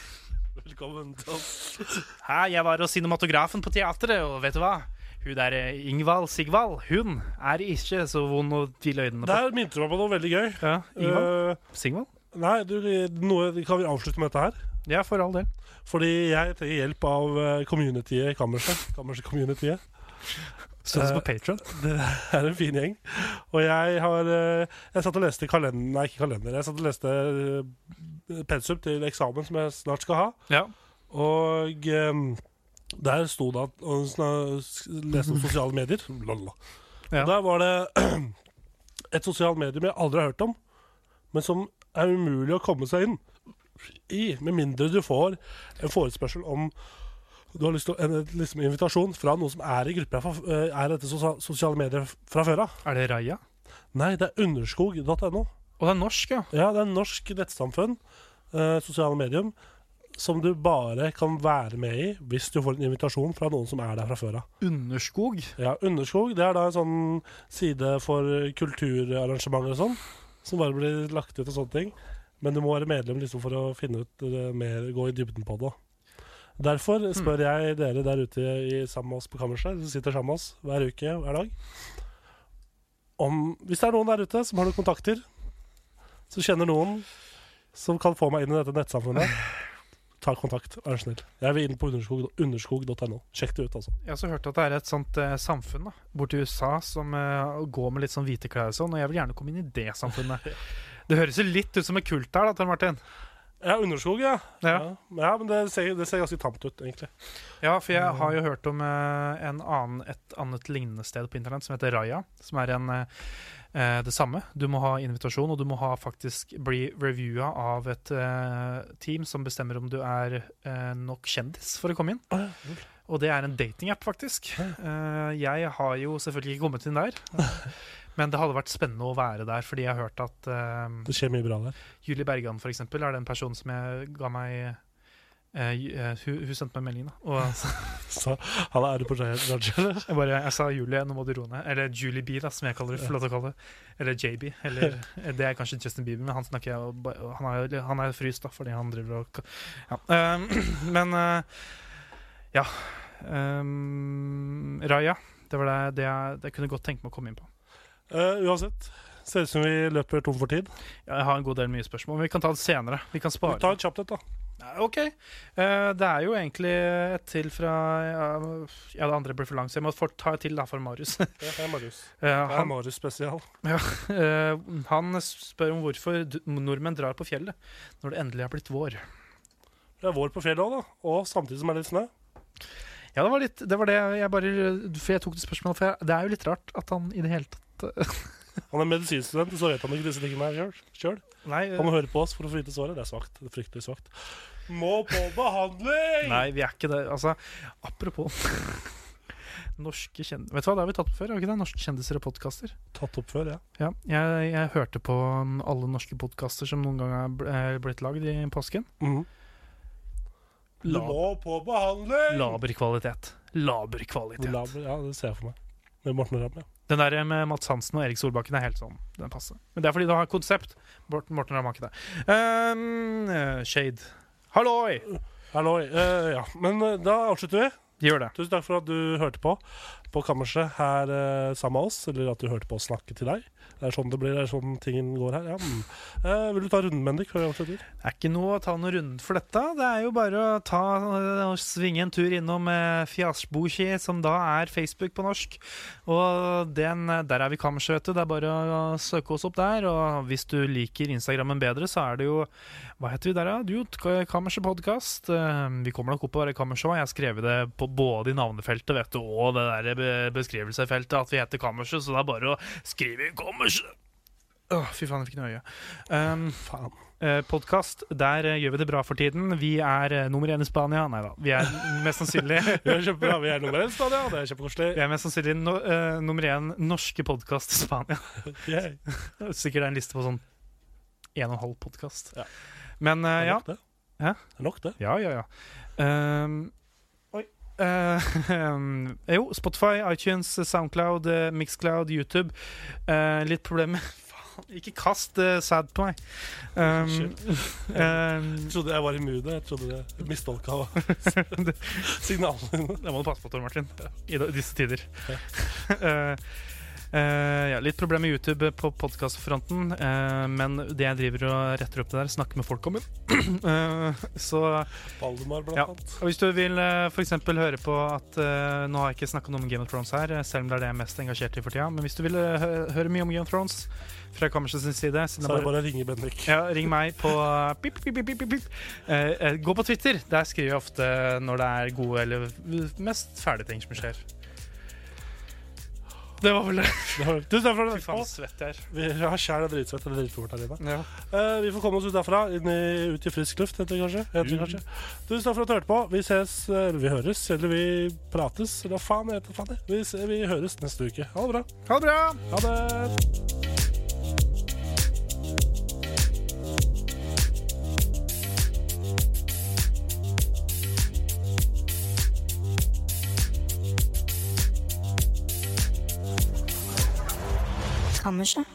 S2: Velkommen til oss.
S3: Hei, jeg var hos cinematografen på teatret, og vet du hva? Hun der eh, Ingvald Sigvald, hun er ikke så vond å hvile øynene på.
S2: Der minte du meg på noe veldig gøy.
S3: Ja, Ingvald?
S2: Eh,
S3: Sigvald?
S2: nei, du, noe, kan vi avslutte med dette her?
S3: Ja, for all del.
S2: Fordi jeg trenger hjelp av eh, communityet i kammerset. Kammerset-communityet.
S3: Støtt
S2: Eh,
S3: oss på Patron.
S2: Det er en fin gjeng. Og jeg har eh, Jeg satt og leste kalender Nei, ikke kalender. Jeg satt og leste eh, pensum til eksamen som jeg snart skal ha.
S3: Ja.
S2: Og eh, der sto det at Og hun sna- s- leste om sosiale medier. Lalla.
S3: Ja.
S2: Og der var det et sosialt medium jeg aldri har hørt om, men som er umulig å komme seg inn i, med mindre du får en forespørsel om du har lyst til å, en liksom, invitasjon fra noen som er i gruppa, fra- eh, er dette sosia- sosiale medier fra før av.
S3: Er det Raja?
S2: Nei, det er underskog.no.
S3: Og det er norsk, ja.
S2: Ja, det er en norsk nettsamfunn, eh, sosiale medium, som du bare kan være med i hvis du får en invitasjon fra noen som er der fra før av.
S3: Underskog.
S2: Ja, Underskog det er da en sånn side for kulturarrangementer og sånn, som bare blir lagt ut og sånne ting. Men du må være medlem liksom for å finne ut eh, mer, gå i dybden på det. Derfor spør jeg dere der ute i, sammen med oss på kammerset, som sitter sammen med oss hver uke, hver dag, om hvis det er noen der ute som har noen kontakter Så kjenner noen som kan få meg inn i dette nettsamfunnet, ta kontakt. Vær så snill. Jeg vil inn på underskog- underskog.no. Sjekk det ut, altså.
S3: Jeg har også hørt at det er et sånt eh, samfunn da, borti USA som eh, går med litt sånn hvite klær og sånn, og jeg vil gjerne komme inn i det samfunnet. Det høres jo litt ut som en kult her, da, Tor Martin.
S2: Ja, underskog, ja.
S3: Ja.
S2: Ja, ja men det ser, det ser ganske tamt ut, egentlig.
S3: Ja, for jeg har jo hørt om eh, en annen, et annet lignende sted på internett som heter Raya, som er en, eh, eh, det samme. Du må ha invitasjon, og du må ha faktisk bli reviewa av et eh, team som bestemmer om du er eh, nok kjendis for å komme inn. Og det er en datingapp, faktisk. Eh, jeg har jo selvfølgelig ikke kommet inn der. Men det hadde vært spennende å være der, fordi jeg har hørt at eh,
S2: Det skjer mye bra der.
S3: Julie Bergan for eksempel, er den personen som jeg ga meg eh, ju- eh, hun, hun sendte meg meldingen, da. Og
S2: Så han er det på Raja, eller?
S3: jeg bare, jeg sa Julie, nå må du roe ned. Eller Julie B, da, som jeg kaller det. for lov til å kalle det. Eller JB. Eller, eh, det er kanskje Justin Bieber, men han snakker jeg og ba- Han er, jo- han er jo fryst, da, fordi han driver og ja. Um, Men eh, ja. Um, Raja. Det var det, det, jeg, det jeg kunne godt tenke meg å komme inn på.
S2: Eh, uansett. Ser ut som vi løper tom for tid.
S3: Ja, Jeg har en god del mye spørsmål, men vi kan ta det senere. Vi kan spare.
S2: Ta et kjapt et, da.
S3: Nei, OK. Eh, det er jo egentlig et til fra Ja, ja det andre ble for langt, så jeg må fort ta et til da for Marius. Eh,
S2: Det er Marius. Det er
S3: han,
S2: Marius spesial.
S3: eh, han spør om hvorfor d- nordmenn drar på fjellet når det endelig er blitt vår.
S2: Det er vår på fjellet òg, da. Og samtidig som er det litt snø.
S3: Ja, det var litt Det var det jeg bare For jeg tok det spørsmålet, for jeg, det er jo litt rart at han i det hele tatt
S2: Han er medisinstudent, så vet han ikke disse tingene her sjøl.
S3: Nei, eh,
S2: Han må høre på oss for å få vite svaret. Det er svakt. Det er fryktelig svakt. Må på behandling!
S3: nei vi er ikke det. Altså, apropos Norske kjendiser Vet du hva, det har vi tatt på før, har vi ikke det? Norske kjendiser og podkaster.
S2: Tatt opp før, ja.
S3: Ja, jeg, jeg hørte på um, alle norske podkaster som noen gang er bl- er blitt lagd i påsken.
S2: Du
S3: La,
S2: må på behandling!
S3: laber kvalitet. Laber kvalitet.
S2: Laber, ja, det ser jeg for meg. Med Morten Ramm, ja.
S3: Den der med Mats Hansen og Erik Solbakken er helt sånn. Den passer. Men det er fordi du har konsept. Morten, Morten Ramm har ikke det. Um, eh, shade. Halloi!
S2: Halloi. eh, ja. Men eh, da avslutter vi.
S3: Gjør det.
S2: Tusen takk for at du hørte på på kammerset her eh, sammen med oss. Eller at du hørte på oss snakke til deg. Det er sånn det blir, det er sånn tingen går her. Ja. Mm. Eh, vil du ta runden, Bendik? før vi avslutter?
S3: Det er ikke noe å ta noen runde for dette. Det er jo bare å ta eh, og svinge en tur innom eh, Fjasboki, som da er Facebook på norsk. Og den, eh, der er vi kammerset, vet du. Det er bare å søke oss opp der. Og hvis du liker Instagrammen bedre, så er det jo Hva heter vi der, da? Jo, K- Kammerset podkast. Vi kommer nok opp på å være kammerset. også. Jeg har skrevet det på både i navnefeltet vet du, og det der eh, be- beskrivelsefeltet at vi heter Kammerset, så det er bare å skrive inn Kammerset! Åh, fy faen, jeg fikk noe i øyet. Um,
S2: Faen.
S3: eh, podkast. Der eh, gjør vi det bra for tiden. Vi er eh, nummer én i Spania. Nei da, vi er mest sannsynlig
S2: Vi er kjempebra. Vi er nummer én, Stadia. Det er kjempekoselig.
S3: Vi er mest sannsynlig no, eh, nummer én norske podkast i Spania.
S2: Yay.
S3: Sikkert det er en liste på sånn én og en halv podkast.
S2: Ja.
S3: Men eh,
S2: Det er
S3: ja.
S2: nok det.
S3: Hæ?
S2: Det er nok det.
S3: Ja, ja, ja. Ehm, oi. Eh, jo, Spotify, iTunes, Soundcloud, eh, Mixcloud, YouTube. Eh, litt problemer Faen, ikke kast eh, sad på meg. Ehm, ehm,
S2: Jeg trodde jeg var i moodet. Jeg trodde det- jeg mistolka signalene dine.
S3: Det må du passe på, Tor Martin, i da- disse tider. Eh, eh, ja, litt problem med YouTube på podkastfronten, men det jeg driver og retter opp det der, snakker med folk om det. Eh, så
S2: Valdemar, blant
S3: Ja.
S2: annet.
S3: og hvis du vil eh, for eksempel høre på at eh, Nå har jeg ikke snakka noe om Game of Thrones her, eh, selv om det er det jeg er mest engasjert i for tida. Men hvis du vil eh, hø- høre mye om Game of Thrones fra kammerset sin side siden
S2: Så er
S3: det bare
S2: det bare å ringe Bendik.
S3: ja, ring meg på eh, pip, pip, pip, pip, pip. Eh, eh, Gå på Twitter. Der skriver jeg ofte når det er gode eller mest fæle ting som skjer. Det var vel det.
S2: Det var- Tusen takk for at
S3: Fy
S2: du hørte
S3: faen,
S2: på.
S3: svett jeg er.
S2: Vi har kjære dritsvett eller dritfort her inne.
S3: Ja.
S2: Eh, vi får komme oss ut derfra, inn i, ut i frisk luft, heter det kanskje. Heter det kanskje. Tusen takk for at du hørte på. Vi ses, eh, eller vi høres, eller vi prates, eller hva faen heter det. faen det? Vi, se- vi høres neste uke. Ha det bra.
S3: Ha det bra!
S2: Ha det.
S6: Kammerset.